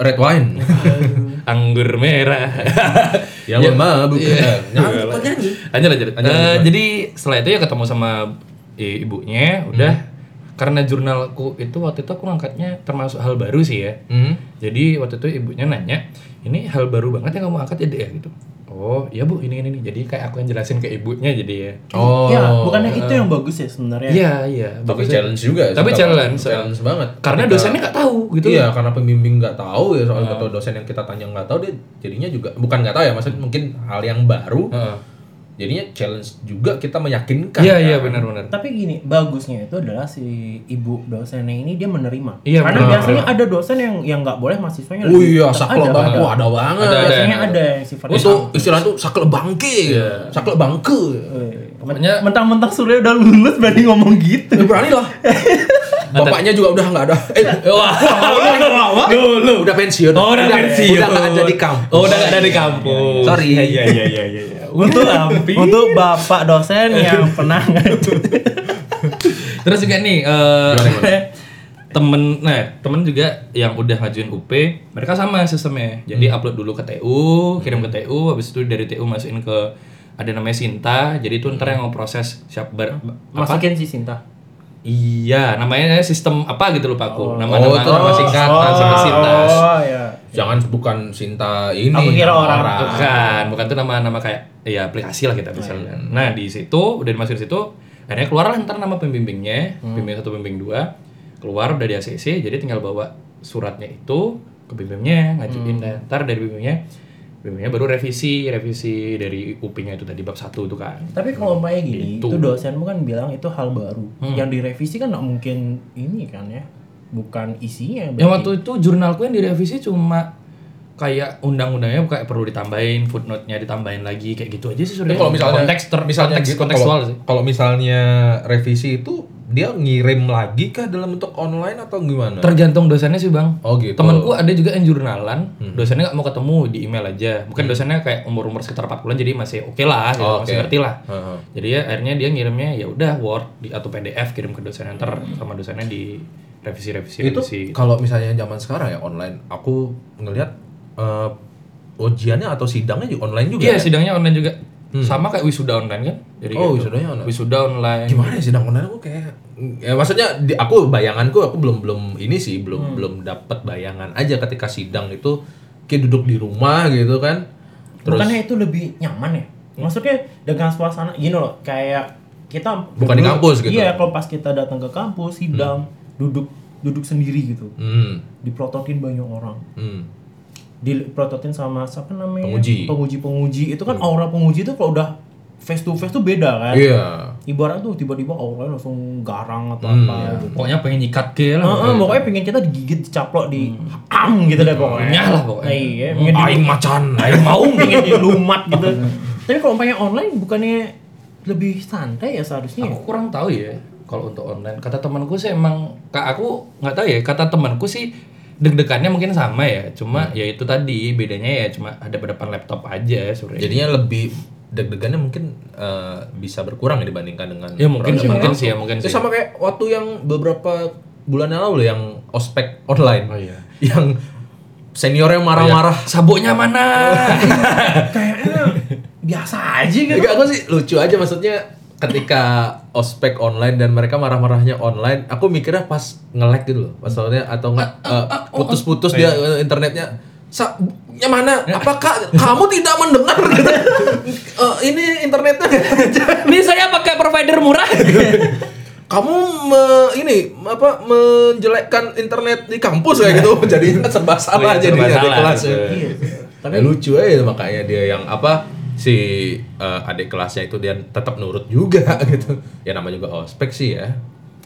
Speaker 3: red
Speaker 2: (laughs)
Speaker 3: wine?
Speaker 2: anggur merah. (laughs)
Speaker 3: Ya, mah bukan.
Speaker 2: Iya.
Speaker 3: Iya.
Speaker 2: Nyambung
Speaker 3: Hmm.
Speaker 2: Lanjut lanjut. Eh, jadi setelah itu ya ketemu sama i- ibunya, udah karena jurnalku itu waktu itu aku ngangkatnya termasuk hal baru sih ya.
Speaker 3: Hmm.
Speaker 2: Jadi waktu itu ibunya nanya, ini hal baru banget yang kamu angkat ya Dek?" gitu. Oh iya bu ini ini ini. Jadi kayak aku yang jelasin ke ibunya jadi ya.
Speaker 3: Oh.
Speaker 5: ya bukannya itu yang bagus ya sebenarnya
Speaker 2: Iya iya.
Speaker 3: Tapi
Speaker 2: bagusnya.
Speaker 3: challenge juga. sih
Speaker 2: Tapi
Speaker 3: kalau-
Speaker 2: challenge. eh,
Speaker 3: Challenge banget.
Speaker 2: Karena
Speaker 3: Ketika-
Speaker 2: dosennya nggak tahu gitu. Ah.
Speaker 3: Iya, karena pembimbing nggak tahu ya soal ketua dosen yang kita tanya nggak tahu dia jadinya juga bukan nggak tahu ya maksudnya mungkin hal yang baru.
Speaker 2: Heeh.
Speaker 3: Jadinya challenge juga kita meyakinkan.
Speaker 2: Ah. Iya
Speaker 3: kan?
Speaker 2: iya benar-benar.
Speaker 5: Tapi gini, bagusnya itu adalah si ibu dosennya ini dia menerima.
Speaker 2: Iya,
Speaker 5: Karena
Speaker 2: benar.
Speaker 5: biasanya ada dosen yang yang nggak boleh mahasiswanya.
Speaker 3: Oh
Speaker 5: lebih-
Speaker 3: iya,
Speaker 5: tetap
Speaker 3: saklek
Speaker 5: ada.
Speaker 3: banget. Wah, ada banget.
Speaker 2: Ada, ada.
Speaker 5: Biasanya ada yang sifatnya.
Speaker 3: Itu istilah itu saklek bangke.
Speaker 2: Iya.
Speaker 3: Saklek bangke.
Speaker 5: Eh,
Speaker 2: Pokoknya-
Speaker 5: mentang-mentang Surya udah lulus berani ngomong gitu.
Speaker 3: Ya berani
Speaker 2: (laughs)
Speaker 3: lah. Bapaknya juga udah nggak ada. Eh, (laughs) wah,
Speaker 5: Wah,
Speaker 3: dulu udah pensiun.
Speaker 2: Oh udah pensiun.
Speaker 3: Udah nggak ada di kampus.
Speaker 2: Oh udah nggak ada di kampus.
Speaker 1: Sorry.
Speaker 2: Iya iya iya iya. iya.
Speaker 5: untuk (laughs) untuk bapak dosen yang pernah ngajar.
Speaker 2: Terus juga nih eh, (laughs) temen, nah temen juga yang udah ngajuin UP, mereka sama sistemnya. Jadi
Speaker 3: Hmm.
Speaker 2: upload dulu ke TU, kirim ke TU, habis itu dari TU masukin ke ada namanya Sinta. Jadi itu
Speaker 3: Hmm.
Speaker 2: ntar yang ngeproses siap ber, apa?
Speaker 5: Masukin si Sinta.
Speaker 2: Iya, namanya sistem apa gitu lupa aku.
Speaker 3: Oh,
Speaker 2: Nama-nama
Speaker 3: itu
Speaker 2: nama
Speaker 3: nama
Speaker 2: singkatan sama Sinta.
Speaker 5: Oh ya.
Speaker 3: Jangan bukan Sinta ini.
Speaker 5: Aku kira
Speaker 3: nama
Speaker 5: orang.
Speaker 2: Bukan, bukan itu nama-nama kayak ya aplikasi lah
Speaker 3: Oh,
Speaker 2: kita
Speaker 3: iya.
Speaker 2: misalnya. Nah, di situ udah dimasukin situ, akhirnya keluar lah ntar nama pembimbingnya,
Speaker 3: Hmm.
Speaker 2: pembimbing satu, pembimbing dua, keluar dari ACC, jadi tinggal bawa suratnya itu ke bimbingnya, ngajuin
Speaker 3: Hmm.
Speaker 2: dan ntar dari bimbingnya, bimbingnya baru revisi, revisi dari UPI-nya itu tadi bab satu itu kan.
Speaker 5: Tapi kalau umpamanya gini,
Speaker 2: Itu.
Speaker 5: itu, dosen kan bilang itu hal baru.
Speaker 3: Hmm.
Speaker 5: Yang direvisi kan nggak mungkin ini kan ya. Bukan isinya.
Speaker 2: Yang
Speaker 5: berarti.
Speaker 2: waktu itu jurnalku yang direvisi cuma kayak undang-undangnya kayak perlu ditambahin, footnote-nya ditambahin lagi kayak gitu aja sih
Speaker 3: Tapi
Speaker 2: sebenarnya.
Speaker 3: kalau misalnya
Speaker 2: konteks ter-
Speaker 3: misalnya
Speaker 2: konteks-
Speaker 3: gitu,
Speaker 2: kontekstual
Speaker 3: kalau,
Speaker 2: sih.
Speaker 3: kalau misalnya revisi itu dia ngirim lagi kah dalam bentuk online atau gimana?
Speaker 2: Tergantung dosennya sih
Speaker 3: Nah.
Speaker 2: bang.
Speaker 3: Oh, gitu. Hmm.
Speaker 2: Temanku ada juga yang jurnalan, dosennya nggak mau ketemu di email aja. Mungkin dosennya kayak umur umur sekitar 40-an jadi masih oke lah, gitu,
Speaker 3: Oh,
Speaker 2: masih
Speaker 3: oke.
Speaker 2: ngerti lah.
Speaker 3: Heeh.
Speaker 2: Jadi ya, akhirnya dia ngirimnya ya udah Word di, atau PDF kirim ke dosen ntar sama dosennya di revisi revisi
Speaker 3: itu
Speaker 2: revisi.
Speaker 3: kalau misalnya zaman sekarang ya online, aku ngelihat eh, ujiannya atau sidangnya juga online juga.
Speaker 2: Iya
Speaker 3: ya?
Speaker 2: sidangnya online juga. Sama kayak wisuda online kan? Jadi
Speaker 3: Hmm. Oh, wisudanya online.
Speaker 2: Wisuda online.
Speaker 3: Gimana ya sidang online aku kayak ya maksudnya di, aku bayanganku aku belum belum ini sih belum
Speaker 2: Hmm.
Speaker 3: belum dapat bayangan aja ketika sidang itu kayak duduk di rumah gitu kan. Terus
Speaker 5: Bukannya itu lebih nyaman ya? Maksudnya dengan suasana gini loh, kayak kita
Speaker 3: Bukan di kampus gitu.
Speaker 5: Iya, kalau pas kita datang ke kampus, sidang, duduk duduk sendiri gitu.
Speaker 3: hmm,
Speaker 5: Diprototin banyak orang.
Speaker 3: hmm.
Speaker 5: Diprototin sama siapa namanya?
Speaker 3: Penguji.
Speaker 5: Penguji-penguji. Itu kan aura penguji itu kalau udah face to face tuh beda kan.
Speaker 3: Iya.
Speaker 5: Ibarat tuh tiba-tiba aura langsung garang atau
Speaker 3: Hmm,
Speaker 5: apa gitu.
Speaker 2: Pokoknya pengen nyikat ke lah.
Speaker 5: Heeh, pokoknya pengen kita digigit, dicaplok, di am gitu deh pokoknya.
Speaker 2: Nyah lah pokoknya.
Speaker 5: Nah, iya, pengen di-
Speaker 3: Aing macan, aing
Speaker 5: mau
Speaker 2: (laughs)
Speaker 5: pengen dilumat gitu. Tapi kalau umpamanya online bukannya lebih santai ya seharusnya
Speaker 3: Iya.
Speaker 5: ya?
Speaker 2: Aku kurang tahu ya kalau untuk online. Kata temanku sih emang kak aku nggak tahu ya. Kata temanku sih deg-degannya mungkin sama ya.
Speaker 3: Hmm.
Speaker 2: Cuma ya itu tadi bedanya ya cuma ada pada depan laptop aja sebenarnya.
Speaker 3: jadinya lebih deg-degannya mungkin eh, bisa berkurang ya dibandingkan dengan
Speaker 2: Ya, mungkin sih,
Speaker 3: proses
Speaker 2: mungkin
Speaker 3: langsung.
Speaker 2: sih ya, mungkin
Speaker 3: itu
Speaker 2: sih.
Speaker 3: sama kayak waktu yang beberapa bulan yang lalu yang ospek online
Speaker 2: Oh, iya.
Speaker 3: yang seniornya marah-marah
Speaker 2: Sabuknya
Speaker 3: (laughs)
Speaker 2: mana?
Speaker 5: Kayaknya biasa aja
Speaker 3: Enggak,
Speaker 5: gitu.
Speaker 3: aku sih lucu aja maksudnya ketika ospek online dan mereka marah-marahnya online aku mikirnya pas nge-lag gitu loh maksudnya atau enggak eh, putus-putus dia eh, internetnya "Sa- nya mana? Apakah kamu tidak (laughs) mendengar? Gitu. "Eh, ini internetnya
Speaker 2: Ini saya pakai provider murah.
Speaker 3: kamu me- ini apa menjelekkan internet di kampus kayak gitu jadinya serba salah
Speaker 2: Oh iya,
Speaker 3: jadinya
Speaker 2: serba
Speaker 3: di
Speaker 2: salah.
Speaker 3: kelas ya.
Speaker 5: Iya.
Speaker 3: Tapi lucu aja tuh makanya dia yang apa si eh, adik kelasnya itu dia tetap nurut juga (laughs) gitu. Ya namanya juga ospek sih ya.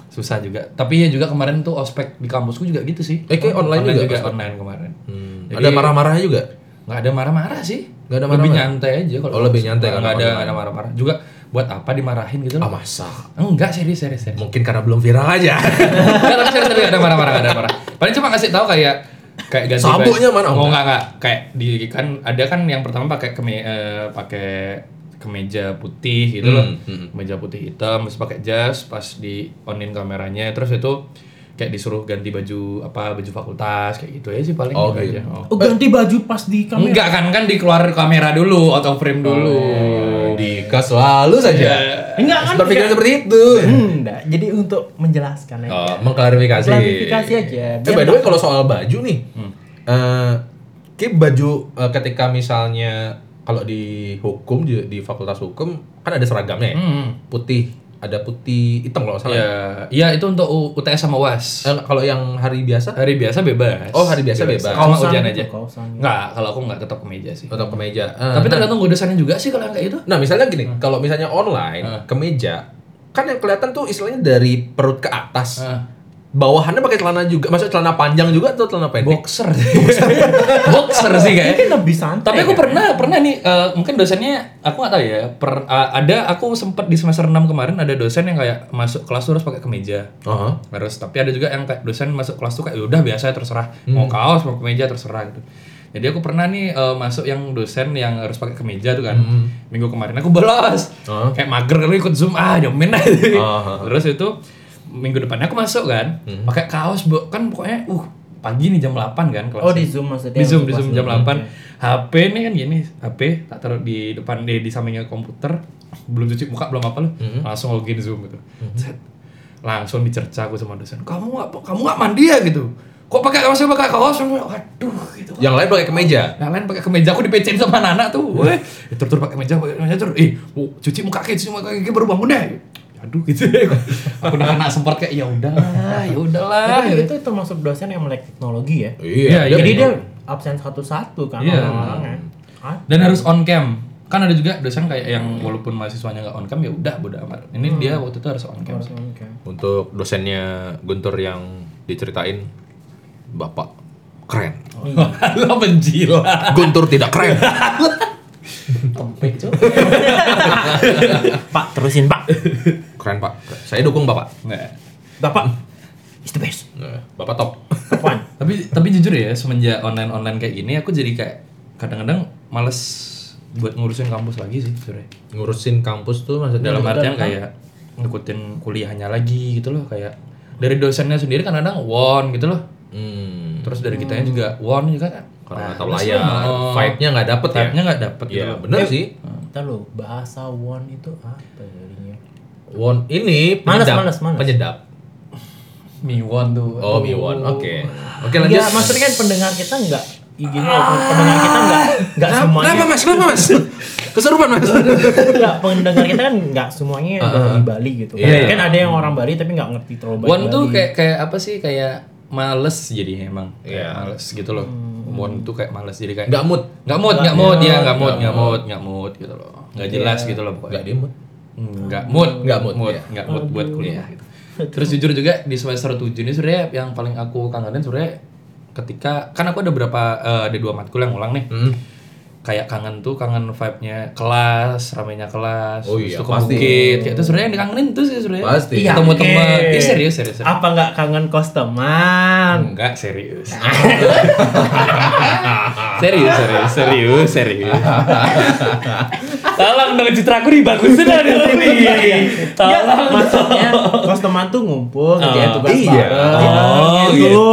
Speaker 2: Susah juga. Tapi ya juga kemarin tuh ospek di kampusku juga gitu sih.
Speaker 3: Eh, kayak online juga ospek.
Speaker 2: online kemarin. Hmm. Jadi-
Speaker 3: Ada marah-marahnya juga.
Speaker 2: nggak ada marah-marah sih
Speaker 3: Nggak ada
Speaker 2: lebih
Speaker 3: marah-marah?
Speaker 2: nyantai aja kalau
Speaker 3: Oh, lebih nyantai
Speaker 2: nggak
Speaker 3: kalau
Speaker 2: ada
Speaker 3: online.
Speaker 2: nggak ada marah-marah juga buat apa dimarahin gitu
Speaker 3: Ah
Speaker 2: loh
Speaker 3: masa.
Speaker 2: enggak serius serius serius
Speaker 3: Mungkin karena belum viral aja.
Speaker 2: nggak tapi serius tapi nggak ada marah-marah nggak ada marah paling cuma ngasih tahu kayak kayak ganti
Speaker 3: Sabuknya mana?
Speaker 2: mau nggak nggak kayak di kan ada kan yang pertama pakai keme eh, pakai kemeja putih gitu
Speaker 3: Hmm,
Speaker 2: loh
Speaker 3: hmm.
Speaker 2: kemeja putih hitam terus pakai jas pas di onin kameranya terus itu kayak disuruh ganti baju apa baju fakultas kayak gitu ya sih paling
Speaker 3: Oh,
Speaker 2: gitu
Speaker 3: gitu.
Speaker 2: aja. Oh.
Speaker 5: Oh, ganti baju pas di kamera.
Speaker 3: Oh, iya, (laughs)
Speaker 2: Enggak kan kan dikeluarin kamera dulu, auto frame dulu.
Speaker 3: Dika selalu saja
Speaker 5: Enggak kan?
Speaker 3: berpikiran
Speaker 5: enggak.
Speaker 3: seperti itu.
Speaker 5: Enggak. Jadi untuk menjelaskan ya. aja.
Speaker 3: Oh, mengklarifikasi.
Speaker 5: Klarifikasi aja,
Speaker 3: Eh, by
Speaker 5: biar
Speaker 3: the way
Speaker 5: nggak-
Speaker 3: kalau soal baju nih, eh, kayak baju eh, ketika misalnya kalau di hukum di, di fakultas hukum kan ada seragamnya ya.
Speaker 2: Hmm.
Speaker 3: Putih, ada putih hitam kalau nggak salah. ya?
Speaker 2: Ya, iya itu untuk U- UTS sama UAS.
Speaker 3: Eh, kalau yang hari biasa
Speaker 2: Hari biasa bebas.
Speaker 3: Oh, hari biasa bebas.
Speaker 2: Cuma
Speaker 5: Kausan
Speaker 2: ujian
Speaker 5: itu,
Speaker 2: aja.
Speaker 5: kausan.
Speaker 2: Enggak, kalau aku enggak tetap ke meja sih.
Speaker 3: atau kemeja. Eh,
Speaker 2: Tapi
Speaker 3: nah,
Speaker 2: tergantung godesannya juga sih kalau yang kayak gitu. itu.
Speaker 3: Nah, misalnya gini, kalau misalnya online kemeja kan yang kelihatan tuh istilahnya dari perut ke atas.
Speaker 2: Ah.
Speaker 3: Bawahannya pakai celana juga, maksudnya celana panjang juga atau celana pendek? (laughs)
Speaker 2: Boxer. Boxer sih kayaknya.
Speaker 5: Mungkin lebih santai.
Speaker 2: Tapi aku
Speaker 3: Iya.
Speaker 5: kan?
Speaker 2: pernah pernah nih eh, mungkin dosennya aku nggak tahu ya. Per, eh, ada aku sempet di semester 6 kemarin ada dosen yang kayak masuk kelas tuh harus pakai kemeja.
Speaker 3: Aha.
Speaker 2: Harus tapi ada juga yang kayak dosen masuk kelas tuh kayak "Ya udah biasa terserah
Speaker 5: Hmm.
Speaker 2: mau kaos mau kemeja terserah gitu. Jadi aku pernah nih eh, masuk yang dosen yang harus pakai kemeja tuh kan.
Speaker 5: Hmm.
Speaker 2: Minggu kemarin aku bolos.
Speaker 3: Oh.
Speaker 2: Kayak mager kalau ikut Zoom ah nyomin aja.
Speaker 3: Oh.
Speaker 2: Terus itu minggu depannya aku masuk kan,
Speaker 5: Hmm.
Speaker 2: pakai kaos Bu. kan pokoknya uh pagi nih jam 8 kan kelas.
Speaker 5: Oh, di Zoom maksudnya.
Speaker 2: Di Zoom, di
Speaker 5: Pas
Speaker 2: Zoom jam
Speaker 5: Zoom,
Speaker 2: 8.
Speaker 5: oke.
Speaker 2: HP nih kan gini, HP tak taruh di depan di, di sampingnya komputer, belum cuci muka, belum apa lu,
Speaker 5: Mm-hmm.
Speaker 2: langsung login Zoom gitu. Set. Langsung dicerca aku sama dosen. Kamu nggak kamu nggak mandi ya gitu. Kok pakai kaos pakai kaos? Waduh gitu.
Speaker 3: Yang lain pakai kemeja.
Speaker 2: Yang lain pakai kemeja aku dipecein sama anak tuh.
Speaker 5: Iya.
Speaker 2: Weh, tur tur pakai kemeja, pakai kemeja tur. Ih, oh, cuci muka kaki, cuci muka kaki baru bangun deh. Aduh gitu. (laughs) aku udah kena semprot kayak ya udahlah, ya udahlah.
Speaker 5: Tapi itu termasuk dosen yang melek teknologi ya.
Speaker 3: Iya,
Speaker 2: Iya,
Speaker 5: Jadi
Speaker 2: iya.
Speaker 5: dia absen satu-satu kan
Speaker 2: Iya.
Speaker 5: orang-orangnya. Ah,
Speaker 2: Dan harus on cam. Kan ada juga dosen kayak yang walaupun mahasiswanya nggak on cam ya udah bodo amat. Ini dia waktu itu harus on cam.
Speaker 5: harus oke.
Speaker 3: Untuk dosennya Guntur yang diceritain Bapak keren.
Speaker 2: (laughs) Lo menjilat.
Speaker 3: Guntur tidak keren.
Speaker 5: Pak, terusin, Pak.
Speaker 3: Keren, Pak. Saya dukung Bapak.
Speaker 2: Nggak.
Speaker 5: Bapak. It's the best.
Speaker 3: Nah, Bapak top.
Speaker 5: Apaan?
Speaker 2: Tapi tapi jujur ya semenjak online online kayak gini aku jadi kayak kadang-kadang males buat ngurusin kampus lagi sih sebenarnya.
Speaker 3: Iya, Ngurusin kampus tuh maksudnya
Speaker 2: dalam artian kayak ngikutin kuliahnya lagi gitu loh kayak dari dosennya sendiri kan kadang won gitu loh
Speaker 3: hmm,
Speaker 2: terus dari kitanya juga won juga kan
Speaker 3: karena nggak tahu layar, vibe-nya nggak dapet ya.
Speaker 2: nya nggak dapet gitu
Speaker 3: Iya,
Speaker 2: loh.
Speaker 3: bener sih.
Speaker 5: Entar lo bahasa won itu apa ya artinya?
Speaker 3: Won ini
Speaker 5: Malas,
Speaker 3: penyedap.
Speaker 5: malas, malas.
Speaker 3: Penyedap.
Speaker 2: miwon tuh
Speaker 3: Oh,
Speaker 2: Aduh.
Speaker 3: Miwon. Oke. Oke, Ya, lanjut.
Speaker 2: Iya,
Speaker 5: Enggak, maksudnya kan pendengar kita enggak gini pendengar kita enggak enggak semuanya.
Speaker 3: Kenapa, Mas? Kenapa, Mas? Keserupan, Mas.
Speaker 5: Enggak, pendengar kita kan enggak semuanya di Bali gitu. Kan,
Speaker 3: Iya, iya.
Speaker 5: Kan ada yang orang Bali tapi enggak ngerti terlalu banyak.
Speaker 2: won tuh
Speaker 5: Bali.
Speaker 2: kayak kayak apa sih kayak males jadi emang kayak
Speaker 3: Iya.
Speaker 2: males gitu loh won tuh kayak males jadi kayak
Speaker 3: Nggak mood.
Speaker 2: nggak mood nggak mood ya nggak mood nggak mood nggak mood gitu loh nggak jelas gitu loh pokoknya
Speaker 3: Iya. Nggak dia mood.
Speaker 2: nggak mood
Speaker 3: Nggak mood,
Speaker 2: mood
Speaker 3: iya.
Speaker 2: nggak mood buat kuliah gitu. terus jujur juga di semester 7 ini sebenarnya yang paling aku kangenin sebenarnya ketika kan aku ada berapa eh, ada dua matkul yang ulang nih
Speaker 3: Hmm.
Speaker 2: kayak kangen tuh kangen vibe-nya kelas ramainya kelas
Speaker 3: Oh
Speaker 2: terus
Speaker 3: iya,
Speaker 2: tuh ke
Speaker 3: pasti.
Speaker 2: bukit kayak itu sebenarnya yang dikangenin tuh sih sebenarnya
Speaker 3: Pasti.
Speaker 5: Iya,
Speaker 2: ketemu teman
Speaker 5: oke.
Speaker 2: Ih, serius serius, Hmm. serius.
Speaker 5: Apa enggak kangen customer?
Speaker 2: Enggak serius. (laughs) serius, serius, serius,
Speaker 3: (laughs)
Speaker 2: serius. Tolong dong citra aku dibagusin dari
Speaker 3: Iya,
Speaker 2: sini.
Speaker 5: Enggak,
Speaker 2: Tolong.
Speaker 5: Iya, maksudnya customer tuh ngumpul ngerjain tugas
Speaker 3: Iya.
Speaker 2: Oh,
Speaker 5: bareng,
Speaker 2: gitu.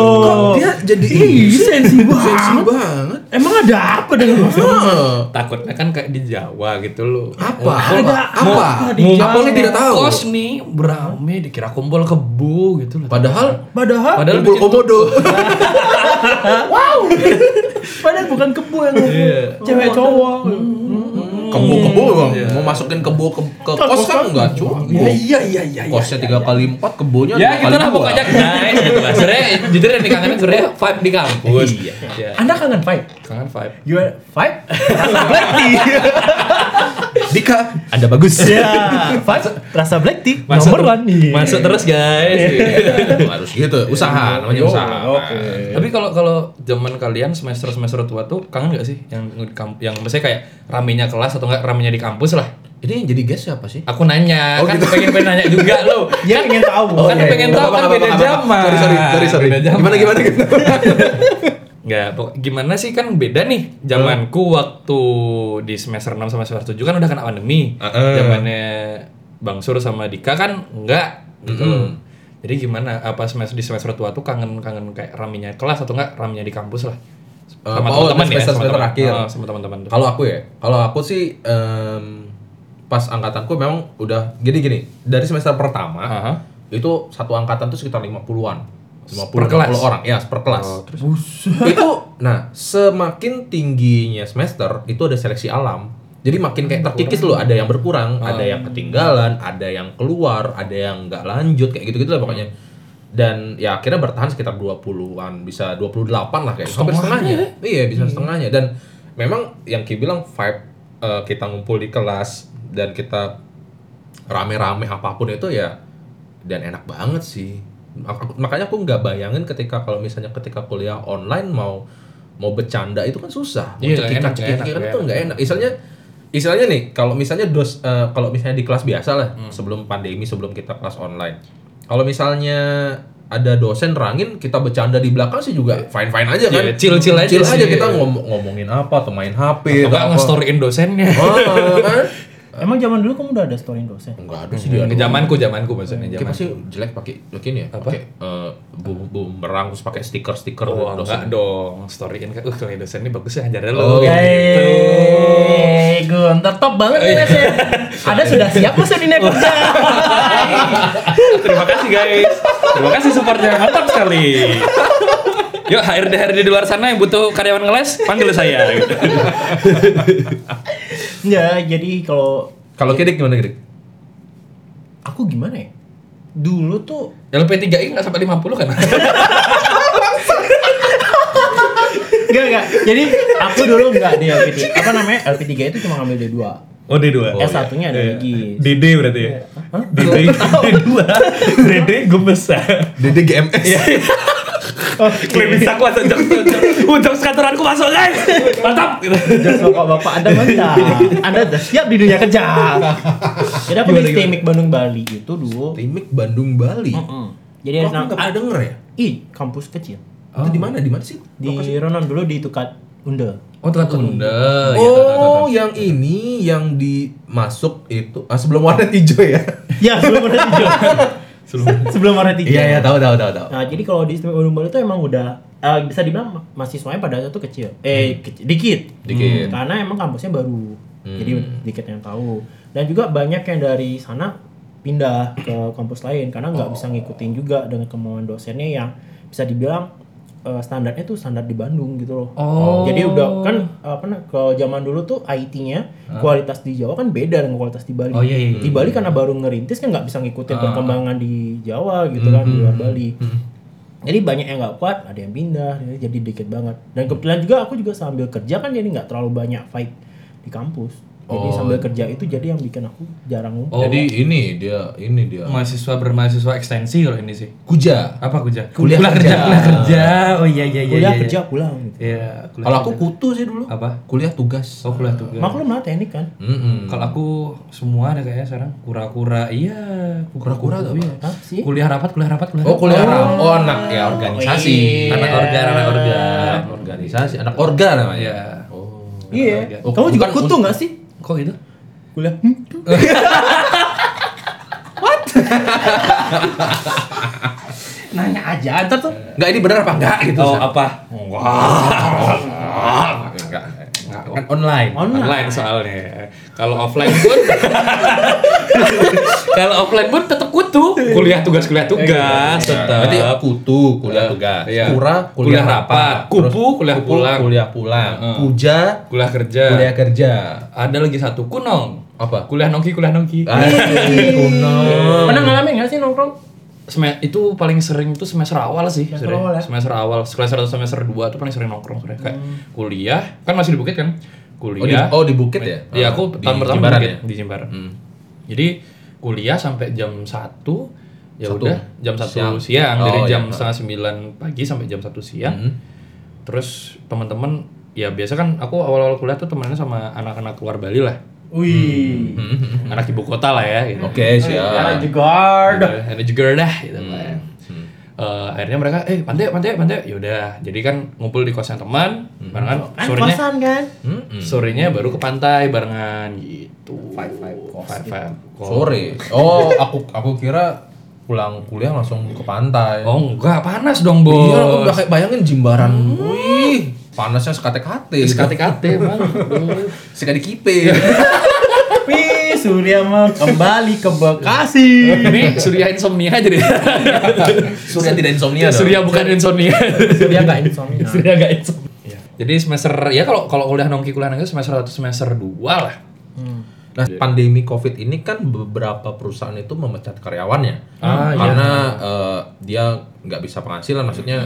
Speaker 3: Dia jadi
Speaker 5: Ih,
Speaker 3: sensi
Speaker 5: sensi banget.
Speaker 3: banget.
Speaker 5: Emang ada apa dengan customer?
Speaker 3: Heeh.
Speaker 2: Takutnya kan kayak di Jawa gitu loh.
Speaker 3: apa
Speaker 5: Ada
Speaker 3: apa
Speaker 5: apa di
Speaker 3: apa
Speaker 5: Jawa?
Speaker 3: Kapolnya tidak tahu
Speaker 2: Nah, Kos nih berame dikira kumpul kebo gitu loh.
Speaker 3: padahal
Speaker 5: Padahal
Speaker 2: Padahal
Speaker 3: kumpul
Speaker 2: bikin-
Speaker 3: komodo
Speaker 5: wow. Padahal bukan kebo yang ngumpul. cewek cowok.
Speaker 3: kebo kebo bang mau masukin kebo ke, ke Hmm. Iya. kos kan nggak cuma
Speaker 2: iya iya iya.
Speaker 3: kosnya tiga kali empat kebonya dua
Speaker 2: Ya gitu
Speaker 3: kali
Speaker 2: lah
Speaker 3: dua.
Speaker 2: pokoknya guys gitu lah. Sebenernya jujur yang dikangenin sebenernya vibe di kampus
Speaker 3: Iya.
Speaker 2: Iya.
Speaker 5: Anda kangen vibe?
Speaker 2: Kangen vibe
Speaker 5: You are vibe? Rasa black tea.
Speaker 3: Dika ada bagus
Speaker 5: Ya, vibe rasa black tea
Speaker 2: Masuk
Speaker 5: nomor
Speaker 2: ter-
Speaker 5: one. Iya.
Speaker 2: Masuk terus guys.
Speaker 3: Iya. harus gitu usaha namanya
Speaker 5: Yo,
Speaker 3: usaha
Speaker 5: Oke.
Speaker 2: Tapi kalau kalau zaman kalian semester semester tua tuh kangen gak sih yang di kamp- yang misalnya kayak ramenya kelas atau enggak ramenya di kampus lah.
Speaker 3: ini yang jadi guest siapa sih
Speaker 2: Aku nanya,
Speaker 3: Oh,
Speaker 2: kan
Speaker 3: gitu.
Speaker 2: pengen pengen nanya juga lo.
Speaker 5: Dia pengen tahu.
Speaker 2: Oh, kan
Speaker 5: Iya,
Speaker 2: pengen
Speaker 5: iya.
Speaker 2: tahu kan beda zaman.
Speaker 3: sorry sorry sorry sorry
Speaker 2: Beda zaman.
Speaker 3: gimana gimana gitu (laughs)
Speaker 2: Nggak, pokok- gimana sih kan beda nih zamanku waktu di semester 6 sama semester 7 kan udah kena pandemi.
Speaker 3: Heeh.
Speaker 2: Zamannya Bang Sur sama Dika kan enggak gitu. loh. Jadi gimana apa semester di semester tua tuh kangen-kangen kayak ramenya kelas atau enggak ramenya di kampus lah. ya,
Speaker 3: oh, di semester-semester
Speaker 2: eh, teman-teman.
Speaker 3: akhir.
Speaker 2: Oh, sama teman-teman.
Speaker 3: kalau aku ya kalau aku sih em, pas angkatanku memang udah gini gini dari semester pertama
Speaker 2: Aha.
Speaker 3: itu satu angkatan tuh sekitar 50-an. 50
Speaker 2: Per kelas? Oh,
Speaker 3: 60 orang, ya, per kelas. (laughs) itu nah, semakin tingginya semester itu ada seleksi alam. Jadi makin kayak terkikis loh, ada yang berkurang, Ah. ada yang ketinggalan, ada yang keluar, ada yang nggak lanjut kayak gitu-gitu lah pokoknya. Dan ya akhirnya bertahan sekitar 20-an, bisa 28 lah kayak gitu. hampir setengahnya. Iya, bisa setengahnya dan memang yang Ki bilang vibe eh, kita ngumpul di kelas dan kita rame-rame apapun itu ya dan enak banget sih Aku- makanya aku nggak bayangin ketika kalau misalnya ketika kuliah online mau mau bercanda itu kan susah mau
Speaker 2: Iya, nggak enak,
Speaker 3: cekik-cekik
Speaker 2: nggak
Speaker 3: kan
Speaker 2: enak,
Speaker 3: itu nggak enak istilahnya istilahnya nih kalau misalnya dos eh, kalau misalnya di kelas biasa lah
Speaker 2: Hmm.
Speaker 3: sebelum pandemi sebelum kita kelas online kalau misalnya ada dosen rangin kita bercanda di belakang sih juga fine fine aja kan
Speaker 2: Iya, chill-chill aja
Speaker 3: Chill aja
Speaker 2: sih.
Speaker 3: kita ngom- ngomongin apa atau main hp
Speaker 2: Atau nggak
Speaker 3: apa.
Speaker 2: nge-storyin dosennya.
Speaker 3: Ah, kan?
Speaker 5: Emang zaman dulu kamu udah ada storyin dosen?
Speaker 3: nggak ada sih dia
Speaker 2: Ke zamanku, zamanku Hmm. maksudnya
Speaker 3: Kayak
Speaker 2: zaman.
Speaker 3: pasti jelek pakai begini ya, pakai eh, bu- bumerang terus pakai stiker-stiker
Speaker 2: Oh,
Speaker 3: dosen.
Speaker 2: (laughs) enggak dong, storyin kan. Uh, kalau dosen ini bagus ya, ajarin
Speaker 3: Oh,
Speaker 2: lo. gitu.
Speaker 5: Yeay, Gunter Eh, top banget nih Nesen. Ada sudah siap masa di Netflix?
Speaker 2: Terima kasih guys. Terima kasih supportnya mantap sekali. Yuk HRD HRD di luar sana yang butuh karyawan ngeles, panggil saya.
Speaker 5: Ya, jadi kalau
Speaker 3: Kalau kidik gimana kidik?
Speaker 5: aku gimana ya? Dulu tuh
Speaker 2: LP3I nggak sampai 50 kan?
Speaker 5: Enggak, enggak. Jadi aku dulu enggak di LP3. Apa namanya? LP3 itu cuma ngambil D2.
Speaker 2: Oh D2.
Speaker 3: iya.
Speaker 5: S1-nya ada lagi.
Speaker 2: DD berarti ya. DD D2. DD gue besar.
Speaker 3: Dede GMS.
Speaker 2: Klaim bisa kuat untuk untuk kantoranku masuk guys. Mantap.
Speaker 5: Jangan lupa bapak Anda mantap. Anda sudah siap di dunia kerja. Iya. Jadi aku di Stemik Bandung Bali itu dulu.
Speaker 3: Timik Bandung Bali. Kok
Speaker 5: Jadi ada
Speaker 3: aku nggak pernah denger ya?
Speaker 5: I, kampus kecil.
Speaker 3: Itu di mana? Di mana sih?
Speaker 5: Di Ronan dulu di Tukat Unda.
Speaker 2: Oh tempat tunda.
Speaker 3: Oh, yang ini yang dimasuk itu ah, sebelum warna hijau ya.
Speaker 5: Ya, sebelum warna hijau. sebelum (laughs) sebelum warna
Speaker 3: (laughs)
Speaker 5: hijau.
Speaker 3: Iya, iya, tahu tahu tahu tahu.
Speaker 5: Nah, jadi kalau di Istimewa Bandung Bali itu emang udah eh, bisa dibilang ma- mahasiswanya pada saat itu kecil. Eh, kecil- dikit.
Speaker 3: Dikit.
Speaker 5: Hmm, Karena emang kampusnya baru. Jadi dikit yang tahu. Dan juga banyak yang dari sana pindah ke kampus lain karena nggak bisa ngikutin juga dengan kemauan dosennya yang bisa dibilang eh, standarnya tuh standar di Bandung gitu loh.
Speaker 2: Oh.
Speaker 5: Jadi udah kan apa nah, ke zaman dulu tuh IT-nya kualitas di Jawa kan beda dengan kualitas di Bali.
Speaker 2: Oh, iya, Ah. iya,
Speaker 5: Di Bali karena baru ngerintis kan nggak bisa ngikutin perkembangan di Jawa gitu
Speaker 2: Hmm,
Speaker 5: kan di luar Bali. Jadi banyak yang nggak kuat, ada yang pindah, jadi- jadi dikit banget. Dan kebetulan juga aku juga sambil kerja kan jadi nggak terlalu banyak fight di kampus. Jadi
Speaker 2: Oh.
Speaker 5: sambil kerja itu jadi yang bikin aku jarang ngumpul.
Speaker 3: Jadi ini dia, ini dia.
Speaker 2: Mahasiswa bermahasiswa ekstensi kalau ini sih.
Speaker 3: Kuja.
Speaker 2: Apa kuja?
Speaker 3: Kuliah kerja.
Speaker 2: Kuliah kerja. Oh iya iya iya.
Speaker 5: Kuliah
Speaker 2: iya,
Speaker 5: kerja pulang gitu.
Speaker 2: Iya. kuliah
Speaker 3: Kalau aku
Speaker 2: kerja.
Speaker 3: kutu sih dulu.
Speaker 2: apa?
Speaker 3: Kuliah tugas.
Speaker 2: Oh kuliah tugas.
Speaker 5: Maklum lah teknik kan.
Speaker 3: Mm-mm.
Speaker 2: Kalau aku semua ada kayaknya sekarang kura-kura. Iya.
Speaker 3: Kura-kura tuh apa?
Speaker 2: iya.
Speaker 5: Hah sih?
Speaker 2: Kuliah rapat, kuliah rapat, kuliah.
Speaker 3: Oh,
Speaker 2: rapat.
Speaker 3: kuliah ra- Oh, anak ya organisasi.
Speaker 2: Anak organ, anak organ.
Speaker 3: Anak organisasi, anak orga namanya.
Speaker 2: Iya.
Speaker 3: Oh.
Speaker 5: Iya.
Speaker 3: Oh,
Speaker 5: Kamu
Speaker 3: bukan
Speaker 5: juga kutu nggak sih?
Speaker 2: Kok gitu?
Speaker 5: Kuliah. Hmm? What? Nanya aja antar tuh.
Speaker 3: Enggak ini benar apa enggak gitu.
Speaker 2: Oh,
Speaker 3: San.
Speaker 2: apa?
Speaker 3: Enggak, enggak. Enggak, Kan online.
Speaker 2: Online soalnya. Kalau offline pun (laughs) Kalau offline pun tetap kutu. Kuliah tugas, kuliah tugas tetap.
Speaker 3: Berarti Eh, kutu kuliah tugas,
Speaker 2: iya.
Speaker 3: kura
Speaker 2: Kuliah rapat, kupu kuliah
Speaker 3: kupu,
Speaker 2: pulang,
Speaker 3: kuliah pulang,
Speaker 2: Heeh.
Speaker 3: kuja
Speaker 2: kuliah kerja.
Speaker 3: kuliah kerja.
Speaker 2: Ada lagi satu kunong.
Speaker 3: Apa?
Speaker 2: Kuliah nongki, kuliah nongki. Iya.
Speaker 3: Asik, kuno.
Speaker 5: Iya, Pernah ngalamin nggak sih nongkrong?
Speaker 2: Sem- itu paling sering tuh semester awal sih
Speaker 5: Semester awal
Speaker 2: sebenarnya.
Speaker 5: ya?
Speaker 2: semester awal semester satu semester dua tuh paling sering nongkrong sebenarnya kayak kuliah kan masih di bukit kan
Speaker 3: Hmm. Oh di,
Speaker 2: kuliah
Speaker 3: oh, di bukit ya?
Speaker 2: Iya, aku
Speaker 3: Di
Speaker 2: tahun pertama
Speaker 3: Jimbaran
Speaker 2: di,
Speaker 3: ya?
Speaker 2: Bukit, di Jimbaran. Jadi kuliah sampai jam 1 ya
Speaker 3: Satu.
Speaker 2: udah jam 1 siang,
Speaker 3: Siang. Oh,
Speaker 2: dari
Speaker 3: iya.
Speaker 2: jam setengah 9 pagi sampai jam 1 siang.
Speaker 3: Hmm.
Speaker 2: Terus teman-teman ya biasa kan aku awal-awal kuliah tuh temenannya sama anak-anak luar Bali lah.
Speaker 5: Wih.
Speaker 2: Hmm. Anak ibu kota lah ya gitu.
Speaker 3: Hmm, Oke, siap.
Speaker 5: Jegard.
Speaker 2: Ada juga dah gitu kan. Eh, akhirnya mereka eh pantai pantai pantai yaudah jadi kan ngumpul di kosan teman barengan
Speaker 5: Kan
Speaker 2: sorenya Hmm,
Speaker 5: kosan
Speaker 2: (laughs)
Speaker 5: kan?
Speaker 2: sorenya baru ke pantai barengan gitu five five five five
Speaker 3: Sore. Oh, aku aku kira pulang kuliah langsung ke pantai.
Speaker 2: Oh enggak, panas dong bos.
Speaker 3: Iya, aku udah kayak bayangin Jimbaran.
Speaker 2: Hmm.
Speaker 3: Wih, panasnya sekate-kate. (laughs)
Speaker 2: Sekate-kate emang.
Speaker 3: Sekate kipe.
Speaker 5: Wih, Surya mah kembali ke Bekasi.
Speaker 2: (laughs) Ini Surya insomnia aja deh.
Speaker 3: Surya tidak insomnia dong.
Speaker 2: (laughs) Surya bukan insomnia. (laughs) Iya,
Speaker 5: Surya
Speaker 2: kan?
Speaker 5: nggak insomnia.
Speaker 2: Surya nggak insomnia. Jadi semester ya kalau kalau kuliah nongki kuliah nongki semester 1 semester 2 lah.
Speaker 3: Nah,
Speaker 2: Iya.
Speaker 3: pandemi COVID ini kan beberapa perusahaan itu memecat karyawannya
Speaker 2: Ah, iya.
Speaker 3: karena eh, dia nggak bisa penghasilan, maksudnya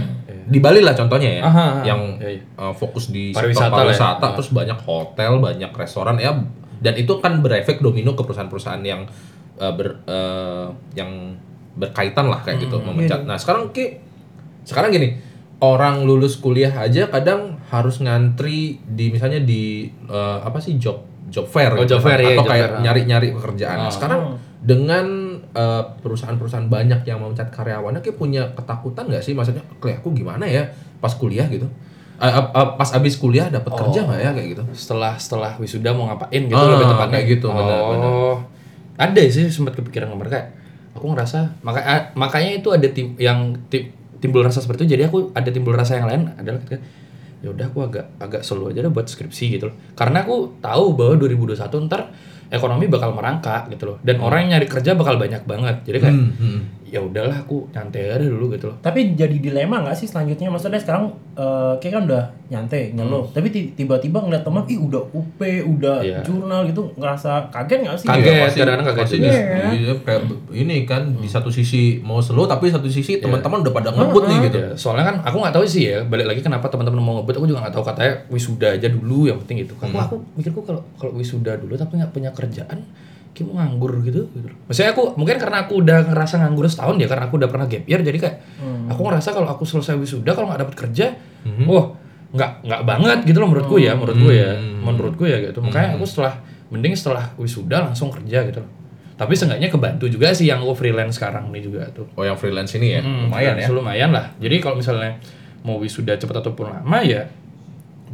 Speaker 3: di Bali lah contohnya ya,
Speaker 2: Hmm. Aha, aha.
Speaker 3: yang
Speaker 2: Iya, iya.
Speaker 3: eh, fokus di
Speaker 2: Pariwisata
Speaker 3: sektor
Speaker 2: lah ya.
Speaker 3: pariwisata, terus banyak hotel, banyak restoran ya, dan itu kan berefek domino ke perusahaan-perusahaan yang eh, ber eh, yang berkaitan lah kayak gitu
Speaker 2: Hmm, iya,
Speaker 3: memecat. Nah sekarang ki, sekarang gini orang lulus kuliah aja kadang harus ngantri di misalnya di eh, apa sih job job fair
Speaker 2: Oh,
Speaker 3: gitu
Speaker 2: job fair,
Speaker 3: kan.
Speaker 2: iya,
Speaker 3: atau
Speaker 2: job
Speaker 3: kayak
Speaker 2: fair, ah.
Speaker 3: nyari-nyari pekerjaan. Nah, sekarang dengan eh, perusahaan-perusahaan banyak yang memecat karyawannya kayak punya ketakutan nggak sih maksudnya kayak aku gimana ya pas kuliah gitu. Eh, eh, eh, pas abis kuliah dapat kerja nggak
Speaker 2: Oh.
Speaker 3: ya kayak gitu.
Speaker 2: Setelah setelah wisuda mau ngapain gitu
Speaker 3: Ah,
Speaker 2: lebih tepatnya
Speaker 3: kayak gitu,
Speaker 2: Oh.
Speaker 3: benar, benar.
Speaker 2: Ada sih sempat kepikiran kemarin kayak aku ngerasa maka, a- makanya itu ada tim yang tim, timbul rasa seperti itu. Jadi aku ada timbul rasa yang lain adalah ketika ya udah aku agak agak slow aja deh buat skripsi gitu loh. Karena aku tahu bahwa 2021 ntar ekonomi bakal merangkak gitu loh. Dan orang yang nyari kerja bakal banyak banget. Jadi
Speaker 3: Hmm.
Speaker 2: kayak ya udahlah aku nyantai aja dulu gitu loh.
Speaker 5: Tapi jadi dilema nggak sih selanjutnya? Maksudnya sekarang eh, kayak kan udah nyantai, ngeluh. Tapi ti- tiba-tiba ngeliat teman, ih udah UP, udah
Speaker 2: Hmm. Iya.
Speaker 5: jurnal gitu, ngerasa kaget nggak sih?
Speaker 2: Kaget.
Speaker 3: Iya, pasti-
Speaker 2: kadang-kadang gitu. kaget
Speaker 3: pasti
Speaker 2: juga.
Speaker 3: di- iya, kayak be- ini kan di
Speaker 2: Hmm.
Speaker 3: satu sisi mau slow tapi satu
Speaker 2: Iya.
Speaker 3: sisi teman-teman udah pada ngebut nih gitu.
Speaker 2: Ya, soalnya kan aku nggak tahu sih ya balik lagi kenapa teman-teman mau ngebut aku juga nggak tahu katanya wisuda aja dulu yang penting gitu kan Wah, aku mikirku kalau kalau wisuda dulu tapi nggak punya kerjaan kayak mau nganggur gitu gitu loh. maksudnya aku mungkin karena aku udah ngerasa nganggur setahun ya karena aku udah pernah gap year jadi kayak aku ngerasa kalau aku selesai wisuda kalau nggak dapat kerja wah nggak nggak banget gitu loh menurutku ya menurutku ya menurutku ya gitu makanya aku setelah mending setelah wisuda langsung kerja gitu loh tapi seenggaknya kebantu juga sih yang aku freelance sekarang ini juga tuh
Speaker 3: Oh yang freelance ini ya
Speaker 2: Hmm,
Speaker 3: lumayan ya.
Speaker 2: freelance lumayan lah. Jadi kalau misalnya mau wisuda cepat ataupun lama ya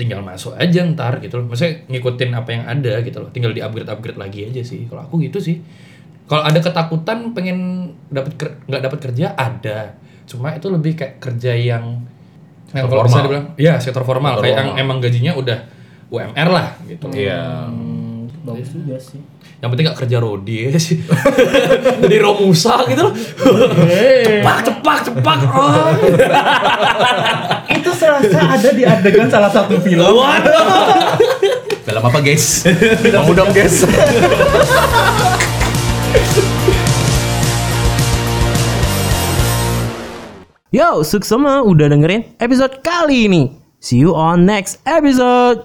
Speaker 2: tinggal masuk aja ntar gitu loh. Maksudnya ngikutin apa yang ada gitu loh. Tinggal di-upgrade-upgrade lagi aja sih. Kalau aku gitu sih. Kalau ada ketakutan pengen dapat ker- nggak dapat kerja ada. Cuma itu lebih kayak kerja yang yang kalau bisa
Speaker 3: formal.
Speaker 2: dibilang ya sektor formal
Speaker 3: Sektor
Speaker 2: kayak yang
Speaker 3: formal.
Speaker 2: emang gajinya udah UMR lah gitu.
Speaker 3: Iya.
Speaker 5: Hmm, bagus
Speaker 2: Iya.
Speaker 5: juga sih.
Speaker 2: Yang penting gak kerja rodi (laughs) ya sih. Jadi romusa gitu loh.
Speaker 3: Iya.
Speaker 2: cepak cepak cepak. Oh.
Speaker 5: Itu serasa ada di adegan salah satu
Speaker 2: (laughs)
Speaker 5: film.
Speaker 3: Dalam apa guys? Mau dong guys.
Speaker 5: Yo, Suksema udah dengerin episode kali ini. See you on next episode.